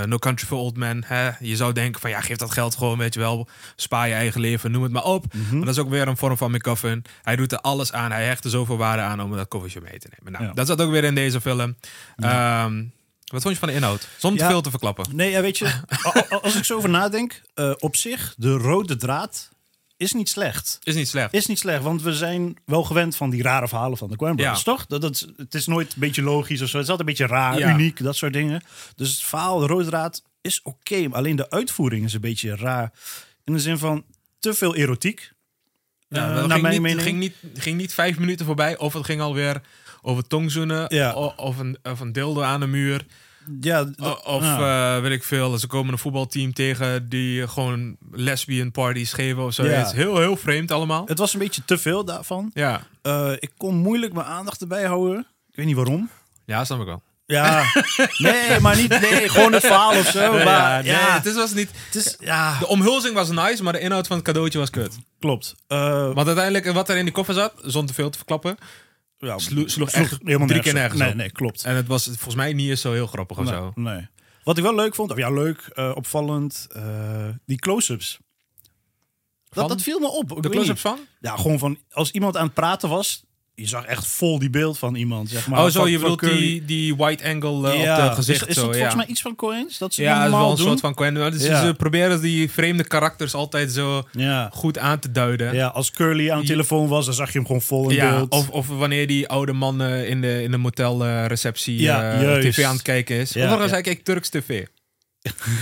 Speaker 6: No Country for Old Men. Hè? Je zou denken van ja, geef dat geld gewoon, weet je wel. Spaar je eigen leven, noem het maar op.
Speaker 8: Mhm.
Speaker 6: Maar dat is ook weer een vorm van McCuffin. Hij doet er alles aan. Hij hecht er zoveel waarde aan om dat koffertje mee te nemen. Nou,
Speaker 8: Ja.
Speaker 6: dat zat ook weer in deze film. Ehm, wat vond je van de inhoud? Zonder
Speaker 8: Ja.
Speaker 6: te veel te verklappen.
Speaker 8: Nee, ja, weet je, a- a- als ik zo over nadenk, eh, op zich, de rode draad is niet slecht.
Speaker 6: Is niet slecht.
Speaker 8: Is niet slecht, want we zijn wel gewend van die rare verhalen van de Coen Brothers,
Speaker 6: Ja.
Speaker 8: toch? Dat, dat, is- het is nooit een beetje logisch of zo. Het is altijd een beetje raar,
Speaker 6: Ja.
Speaker 8: uniek, dat soort dingen. Dus het verhaal, de rode draad, is oké. maar alleen de uitvoering is een beetje raar. In de zin van te veel erotiek.
Speaker 6: Ja,
Speaker 8: Eh,
Speaker 6: Nou, dat
Speaker 8: naar
Speaker 6: ging,
Speaker 8: mijn
Speaker 6: niet,
Speaker 8: mening.
Speaker 6: Ging, niet, ging niet vijf minuten voorbij. Of het ging alweer over tongzoenen.
Speaker 8: Ja.
Speaker 6: o- Of, een, of een dildo aan de muur.
Speaker 8: Ja, dat-
Speaker 6: O- Of
Speaker 8: ja.
Speaker 6: eh, weet ik veel, ze komen een voetbalteam tegen die gewoon lesbian parties geven of zo.
Speaker 8: Ja.
Speaker 6: Het is heel, heel vreemd allemaal.
Speaker 8: het was een beetje te veel daarvan.
Speaker 6: Ja.
Speaker 8: Eh, ik kon moeilijk mijn aandacht erbij houden. Ik weet niet waarom.
Speaker 6: ja, snap ik wel.
Speaker 8: Ja, nee, maar niet, nee, gewoon het verhaal of zo. Maar, ja,
Speaker 6: nee, het is, was niet...
Speaker 8: het is, ja,
Speaker 6: De omhulzing was nice, maar de inhoud van het cadeautje was kut.
Speaker 8: klopt. Eh,
Speaker 6: Want uiteindelijk, wat er in die koffer zat, zonder te veel te verklappen.
Speaker 8: ja,
Speaker 6: slo- sloeg echt drie keer nergens
Speaker 8: Nee,
Speaker 6: op.
Speaker 8: nee, klopt.
Speaker 6: En het was volgens mij niet eens zo heel grappig of
Speaker 8: nee,
Speaker 6: zo.
Speaker 8: nee. Wat ik wel leuk vond, of ja, leuk, eh, opvallend, eh, die close-ups.
Speaker 6: Van?
Speaker 8: Dat, dat viel me op.
Speaker 6: De
Speaker 8: Ik weet
Speaker 6: close-ups
Speaker 8: niet.
Speaker 6: van?
Speaker 8: Ja, gewoon van, als iemand aan het praten was, je zag echt vol die beeld van iemand, zeg maar.
Speaker 6: oh zo,
Speaker 8: Van-
Speaker 6: je
Speaker 8: van
Speaker 6: bedoelt
Speaker 8: Curly.
Speaker 6: die, die wide angle eh,
Speaker 8: Ja.
Speaker 6: op het gezicht.
Speaker 8: Is, is
Speaker 6: zo,
Speaker 8: dat volgens
Speaker 6: ja.
Speaker 8: mij iets van Coens? Dat ze die
Speaker 6: ja, dat is wel
Speaker 8: normaal
Speaker 6: een
Speaker 8: doen?
Speaker 6: soort van Quen. maar Dus
Speaker 8: Ja.
Speaker 6: Ze proberen die vreemde karakters altijd zo
Speaker 8: Ja.
Speaker 6: goed aan te duiden.
Speaker 8: ja, als Curly aan de
Speaker 6: Je-
Speaker 8: telefoon was, dan zag je hem gewoon vol in
Speaker 6: Ja,
Speaker 8: beeld.
Speaker 6: of, of wanneer die oude man eh, in de, in de motelreceptie eh,
Speaker 8: Ja, juist.
Speaker 6: tv aan het kijken is.
Speaker 8: Ja,
Speaker 6: Overigens,
Speaker 8: ja.
Speaker 6: hij keek Turks tv.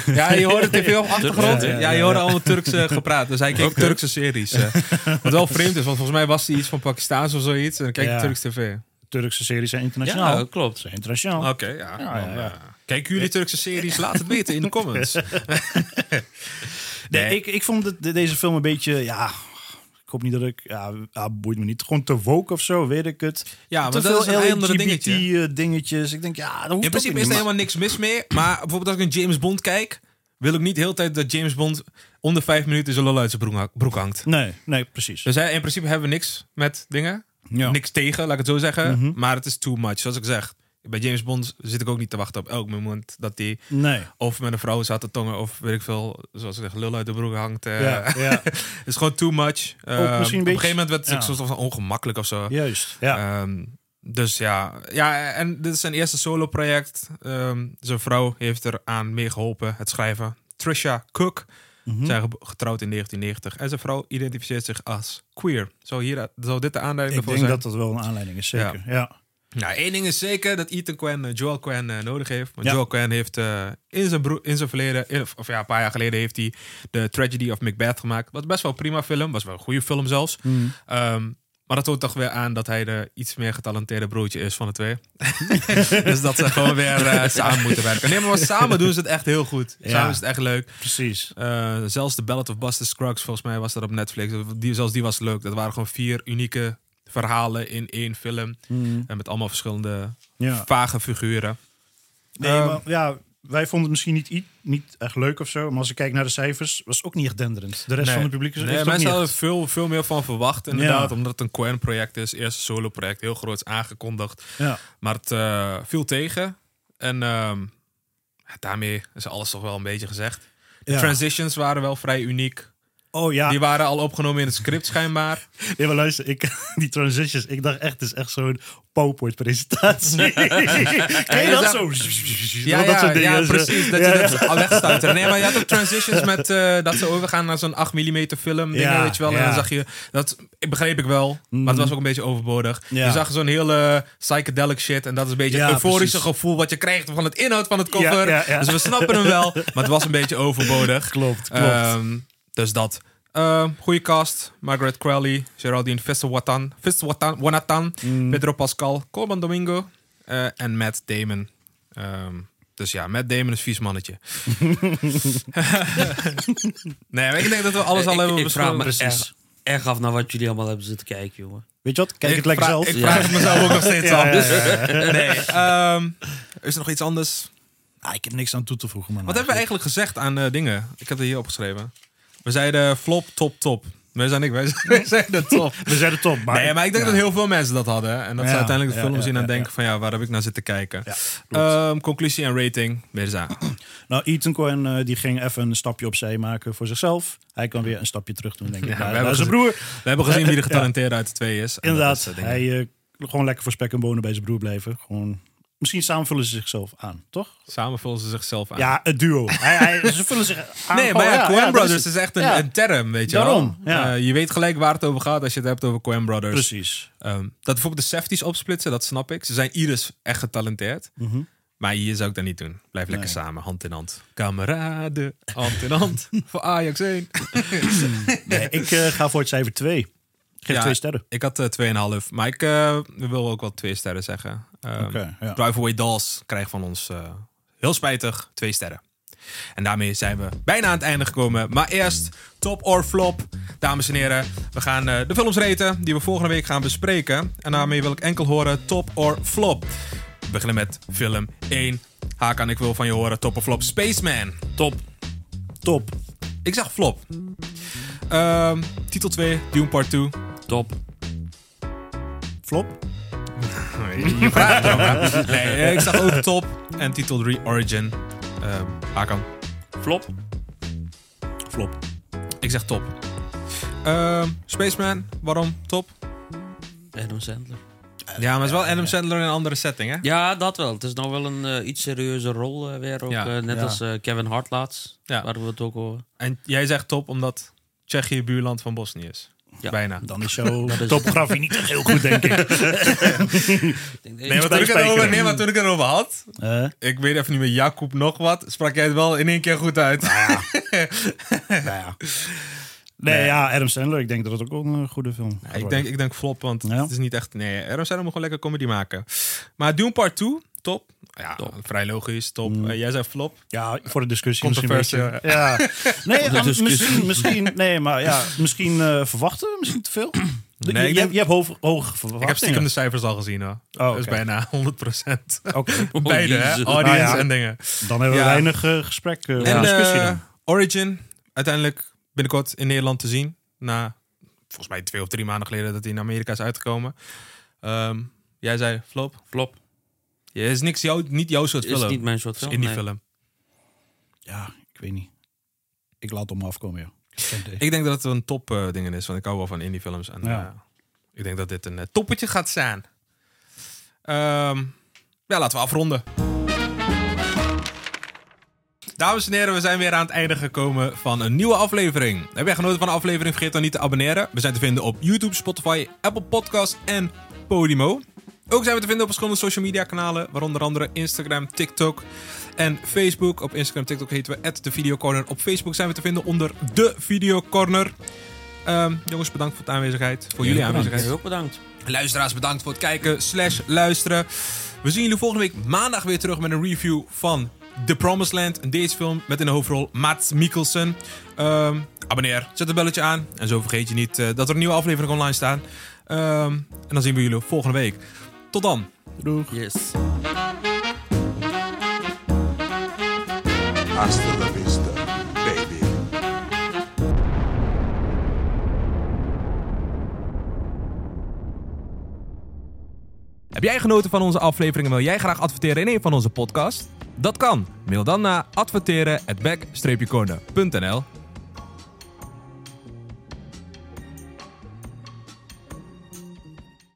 Speaker 6: Ja, je hoorde tv op achtergrond.
Speaker 8: ja,
Speaker 6: Ja,
Speaker 8: ja,
Speaker 6: je
Speaker 8: ja.
Speaker 6: hoorde allemaal Turkse gepraat. Dus hij keek Turkse series. eh. Wat wel vreemd is, want volgens mij was hij iets van Pakistaans of zoiets. En dan keek hij
Speaker 8: Ja.
Speaker 6: Turks tv.
Speaker 8: Turkse series zijn internationaal.
Speaker 7: ja, klopt.
Speaker 8: zijn internationaal.
Speaker 6: Oké, ja.
Speaker 8: Ja,
Speaker 6: dan,
Speaker 8: ja, ja.
Speaker 6: eh, Kijken jullie Turkse series? Laat het weten in de comments.
Speaker 8: Nee, ik, ik vond het, de- deze film een beetje, ja... Ik hoop niet dat ik... Ja, ah, boeit me niet. Gewoon te woke of zo, weet ik het.
Speaker 6: Ja, maar
Speaker 8: te
Speaker 6: dat is
Speaker 8: veel
Speaker 6: een heel ander dingetje.
Speaker 8: LGBT eh, dingetjes. Ik denk, ja, dat hoeft
Speaker 6: In principe
Speaker 8: ook
Speaker 6: is er
Speaker 8: niet,
Speaker 6: helemaal niks mis mee. Maar bijvoorbeeld als ik een James Bond kijk... wil ik niet de hele tijd dat James Bond... onder vijf minuten zijn lol uit zijn broek hak- broek hangt.
Speaker 8: maar- Nee, nee, precies.
Speaker 6: Dus hè, in principe hebben we niks met dingen.
Speaker 8: Ja. Mhm.
Speaker 6: Niks tegen, laat ik het zo zeggen. Maar het is too much, zoals ik zeg. Bij James Bond zit ik ook niet te wachten op elk moment dat hij
Speaker 8: Nee.
Speaker 6: of met een vrouw zat te tongen of weet ik veel, zoals ik zeg, lul uit de broek hangt. eh.
Speaker 8: Ja, ja,
Speaker 6: Het is gewoon too much. Eh,
Speaker 8: misschien een
Speaker 6: op een
Speaker 8: beetje-
Speaker 6: gegeven moment werd het
Speaker 8: ja.
Speaker 6: ook soms wel ongemakkelijk of zo.
Speaker 8: juist. Ja.
Speaker 6: Ehm, dus ja. ja, en dit is zijn eerste solo-project. Ehm, zijn vrouw heeft eraan mee geholpen, het schrijven. Trisha Cook.
Speaker 8: Mhm.
Speaker 6: Ze zijn ge- getrouwd in 1990. En zijn vrouw identificeert zich als queer. Zou, hier, zou dit de aanleiding
Speaker 8: Ik
Speaker 6: ervoor
Speaker 8: denk
Speaker 6: zijn?
Speaker 8: dat dat wel een aanleiding is, zeker. Ja.
Speaker 6: Nou, één ding is zeker dat Ethan Cohen eh, Joel Cohen eh, nodig heeft. Want
Speaker 8: Ja.
Speaker 6: Joel Cohen heeft eh, in, zijn broer- in zijn verleden, in- of, of ja, een paar jaar geleden, heeft hij de Tragedy of Macbeth gemaakt. Was best wel een prima film, was wel een goede film zelfs.
Speaker 8: Mhm.
Speaker 6: Ehm, maar dat toont toch weer aan dat hij de iets meer getalenteerde broertje is van de twee. dus dat ze gewoon weer eh, samen moeten werken. Nee, maar samen doen ze het echt heel goed.
Speaker 8: Ja.
Speaker 6: Samen is het echt leuk.
Speaker 8: Precies.
Speaker 6: Eh, zelfs de Ballad of Buster Scruggs, volgens mij was dat op Netflix. Die, zelfs die was leuk. Dat waren gewoon vier unieke verhalen in één film. En met allemaal verschillende
Speaker 8: Mm. Ja.
Speaker 6: vage figuren.
Speaker 8: Nee,
Speaker 6: Ehm,
Speaker 8: maar, ja, wij vonden het misschien niet, i- niet echt leuk of zo. Maar als ik kijk naar de cijfers, was het ook niet echt denderend. De rest
Speaker 6: Nee.
Speaker 8: van het publiek is
Speaker 6: Nee,
Speaker 8: heeft het ook
Speaker 6: mensen
Speaker 8: niet
Speaker 6: hadden
Speaker 8: echt.
Speaker 6: veel, veel meer van verwacht, inderdaad. Omdat het een Cohen-project is. Eerste solo-project, heel groot is aangekondigd.
Speaker 8: Ja.
Speaker 6: Maar het eh, viel tegen. En ehm, ja, daarmee is alles toch wel een beetje gezegd. De
Speaker 8: Ja.
Speaker 6: transitions waren wel vrij uniek.
Speaker 8: Oh ja,
Speaker 6: Die waren al opgenomen in het script schijnbaar.
Speaker 8: Ja, maar luister, ik, die transitions, ik dacht echt, het is echt zo'n PowerPoint-presentatie. Ken je
Speaker 6: Ja,
Speaker 8: dat
Speaker 6: dat-
Speaker 8: zo?
Speaker 6: Ja,
Speaker 8: Wel dat
Speaker 6: ja,
Speaker 8: soort dingen. eh,
Speaker 6: ja,
Speaker 8: zo.
Speaker 6: precies. Dat
Speaker 8: Ja,
Speaker 6: je
Speaker 8: ja.
Speaker 6: dat al wegstuit. Nee, maar je had ook transitions met eh, dat ze overgaan naar zo'n 8 mm film. Dingen,
Speaker 8: Ja,
Speaker 6: weet je wel. En
Speaker 8: ja. Mm.
Speaker 6: dan zag je, dat begreep ik wel, maar het was ook een beetje overbodig.
Speaker 8: Ja.
Speaker 6: Je zag zo'n hele psychedelic shit. En dat is een beetje
Speaker 8: Ja,
Speaker 6: het euforische
Speaker 8: precies.
Speaker 6: gevoel wat je krijgt van het inhoud van het cover.
Speaker 8: Ja, ja, ja.
Speaker 6: Dus we snappen hem wel, maar het was een beetje overbodig.
Speaker 8: Klopt, klopt.
Speaker 6: Ehm, dus dat. Ehm goede cast. Margaret Crowley, Geraldine Visser-Watan, Visser-Wanatan, Pedro Pascal, Colman Domingo eh, en Matt Damon. Ehm, dus ja, Matt Damon is vies mannetje. nee, maar ik denk dat we alles al
Speaker 7: Eh, ik,
Speaker 6: hebben
Speaker 7: ik vraag
Speaker 6: besproken. Dus
Speaker 7: me
Speaker 8: Precies.
Speaker 7: echt, echt af naar wat jullie allemaal hebben zitten kijken, jongen.
Speaker 8: Weet je wat? Kijk
Speaker 6: Ik
Speaker 8: het lekker
Speaker 6: vraag-
Speaker 8: zelf.
Speaker 6: Ik
Speaker 7: Ja.
Speaker 6: vraag het mezelf ook nog steeds
Speaker 8: Ja,
Speaker 6: af.
Speaker 8: ja, ja.
Speaker 6: Nee, ehm, is er nog iets anders?
Speaker 8: Ah, ik heb niks aan toe te voegen, man.
Speaker 6: Wat hebben we eigenlijk gezegd aan eh, dingen? Ik heb het hier opgeschreven. We zeiden flop, top, top. Wij zijn ik, wij zijn- wij zeiden top.
Speaker 8: We zijn er top, maar...
Speaker 6: Nee, maar ik denk
Speaker 8: Ja.
Speaker 6: dat heel veel mensen dat hadden. En dat
Speaker 8: Ja,
Speaker 6: ze uiteindelijk de
Speaker 8: ja,
Speaker 6: film
Speaker 8: ja,
Speaker 6: zien en
Speaker 8: ja,
Speaker 6: denken
Speaker 8: ja.
Speaker 6: van ja, waar heb ik naar zitten kijken?
Speaker 8: Ja,
Speaker 6: Ehm, conclusie en rating. Weer aan.
Speaker 8: Nou, Ethan Cohen eh, die ging even een stapje opzij maken voor zichzelf. Hij kan weer een stapje terug doen, denk ik.
Speaker 6: Ja,
Speaker 8: Ja,
Speaker 6: we
Speaker 8: naar
Speaker 6: hebben
Speaker 8: zijn
Speaker 6: gezien-
Speaker 8: broer.
Speaker 6: We hebben gezien wie de getalenteerde uit de twee is. En
Speaker 8: Inderdaad,
Speaker 6: dat is, eh, denk ik-
Speaker 8: hij eh, gewoon lekker voor spek en bonen bij zijn broer blijven. Gewoon, misschien samen vullen ze zichzelf aan, toch?
Speaker 6: Samen vullen ze zichzelf aan.
Speaker 8: Ja, het duo. hij, hij, ze vullen zich aan.
Speaker 6: Nee, maar
Speaker 8: gewoon,
Speaker 6: ja, Coen
Speaker 8: dat
Speaker 6: Brothers
Speaker 8: het.
Speaker 6: is echt een,
Speaker 8: Ja,
Speaker 6: een term, weet je
Speaker 8: Daarom,
Speaker 6: wel.
Speaker 8: ja.
Speaker 6: Eh, je weet gelijk waar het over gaat als je het hebt over Coen Brothers.
Speaker 8: Precies.
Speaker 6: Ehm, dat bijvoorbeeld de safeties opsplitsen, dat snap ik. Ze zijn ieders echt getalenteerd.
Speaker 8: Mhm.
Speaker 6: Maar hier zou ik dat niet doen. Blijf lekker samen, hand in hand. Kameraden, hand in hand. voor Ajax 1.
Speaker 8: Nee, ik eh, ga voor het cijfer 2. Geef
Speaker 6: Ja.
Speaker 8: twee sterren.
Speaker 6: Ik had eh 2,5. Maar ik eh, wil ook wel twee sterren zeggen. Ehm,
Speaker 8: Oké, ja.
Speaker 6: Drive Away Dolls krijgt van ons eh, heel spijtig twee sterren. En daarmee zijn we bijna aan het einde gekomen. Maar eerst top or flop. Dames en heren, we gaan eh, de films reten die we volgende week gaan bespreken. En daarmee wil ik enkel horen top or flop. We beginnen met film 1. Hakan, ik wil van je horen top of flop Spaceman.
Speaker 7: Top.
Speaker 8: Top.
Speaker 6: Ik zeg flop. Ehm, titel 2, Dune Part 2.
Speaker 7: Top.
Speaker 8: Flop.
Speaker 6: Je vraagt het wel, hè? Nee, eh, ik zag ook top. En titel 3 Origin. Ehm Hakan.
Speaker 7: Flop.
Speaker 8: Flop.
Speaker 6: Ik zeg top. Ehm, Spaceman, waarom top?
Speaker 7: Adam Sandler.
Speaker 6: Ja, maar het is wel Adam Sandler in een andere setting, hè?
Speaker 7: Ja, dat wel. Het is nou wel een eh, iets serieuze rol eh, weer. Ook,
Speaker 6: Ja.
Speaker 7: eh, net
Speaker 8: Ja.
Speaker 7: als eh, Kevin Hart laatst.
Speaker 6: Ja.
Speaker 7: Waar we het ook over.
Speaker 6: En jij zegt top omdat Tsjechië buurland van Bosnië is.
Speaker 7: Ja.
Speaker 6: Bijna.
Speaker 8: Dan is jouw
Speaker 7: is-
Speaker 8: topografie niet echt heel goed, denk ik.
Speaker 7: Ik denk, eh,
Speaker 8: Nee,
Speaker 6: Toen ik het over,
Speaker 8: Spijkeren.
Speaker 6: nee, maar toen ik het over had,
Speaker 8: Eh,
Speaker 6: ik weet even niet meer, Jacob nog wat, sprak jij het wel in één keer goed uit.
Speaker 8: nou ja. Nee, ja, Adam Sandler. Ik denk dat het ook wel een eh, goede film gaat
Speaker 6: ik,
Speaker 8: worden.
Speaker 6: denk, ik denk flop, want
Speaker 8: Ja.
Speaker 6: het is niet echt... Nee, Adam Sandler moet gewoon lekker comedy maken. Maar Dune Part 2, top. Ja, vrij logisch, top. Eh, jij zei flop.
Speaker 8: Ja, voor de discussie misschien
Speaker 6: Controversieel,
Speaker 8: een beetje. Ja. Nee, ja,
Speaker 7: discussie.
Speaker 8: misschien, misschien, nee, maar ja, misschien eh, verwachten, misschien te veel. Je-
Speaker 6: ik
Speaker 8: je,
Speaker 6: denk-
Speaker 8: je hebt hoog, hoge verwachtingen.
Speaker 6: Ik heb stiekem de cijfers al gezien hoor.
Speaker 8: oké.
Speaker 6: Dat is bijna 100 procent.
Speaker 8: Oké,
Speaker 6: Beide, hè?
Speaker 7: Oh,
Speaker 6: Oh,
Speaker 7: Jezus.
Speaker 6: Audience
Speaker 8: Nou ja.
Speaker 6: en dingen.
Speaker 8: dan hebben we
Speaker 6: Ja.
Speaker 8: weinig eh, gesprek eh, of
Speaker 6: En
Speaker 8: discussie
Speaker 6: eh,
Speaker 8: dan.
Speaker 6: Origin, uiteindelijk binnenkort in Nederland te zien. Na volgens mij twee of drie maanden geleden dat hij in Amerika is uitgekomen. Ehm, jij zei flop.
Speaker 7: Flop.
Speaker 6: Ja, het is niks jou, niet jouw soort
Speaker 7: Is
Speaker 6: film.
Speaker 7: niet mijn soort
Speaker 6: Het
Speaker 7: film.
Speaker 6: is in die
Speaker 7: nee.
Speaker 6: film.
Speaker 8: Ja, ik weet niet. Ik laat hem afkomen, joh. Ik heb geen idee.
Speaker 6: Ik denk dat het een top eh ding is, want ik hou wel van indie films. En,
Speaker 8: Ja.
Speaker 6: eh, ik denk dat dit een eh, toppetje gaat zijn. Ehm, ja, laten we afronden. Dames en heren, we zijn weer aan het einde gekomen van een nieuwe aflevering. Heb jij genoten van de aflevering? Vergeet dan niet te abonneren. We zijn te vinden op YouTube, Spotify, Apple Podcasts en Podimo. Ook zijn we te vinden op verschillende social media kanalen, waaronder andere Instagram, TikTok en Facebook. Op Instagram, TikTok heten we de Videocorner. Op Facebook zijn we te vinden onder de Videocorner. Ehm jongens, bedankt voor de aanwezigheid. Voor jullie aanwezigheid.
Speaker 7: Heel erg bedankt.
Speaker 6: Luisteraars, bedankt voor het kijken slash luisteren. We zien jullie volgende week maandag weer terug met een review van The Promised Land. Een Deens film met in de hoofdrol Mats Mikkelsen. Ehm, abonneer, zet het belletje aan. En zo vergeet je niet eh, dat er een nieuwe aflevering online staan. Ehm, en dan zien we jullie volgende week. Tot dan.
Speaker 7: Yes.
Speaker 5: Hasta la vista, baby.
Speaker 6: Heb jij genoten van onze aflevering en wil jij graag adverteren in een van onze podcasts? Dat kan. Mail dan naar adverteren at back-corner.nl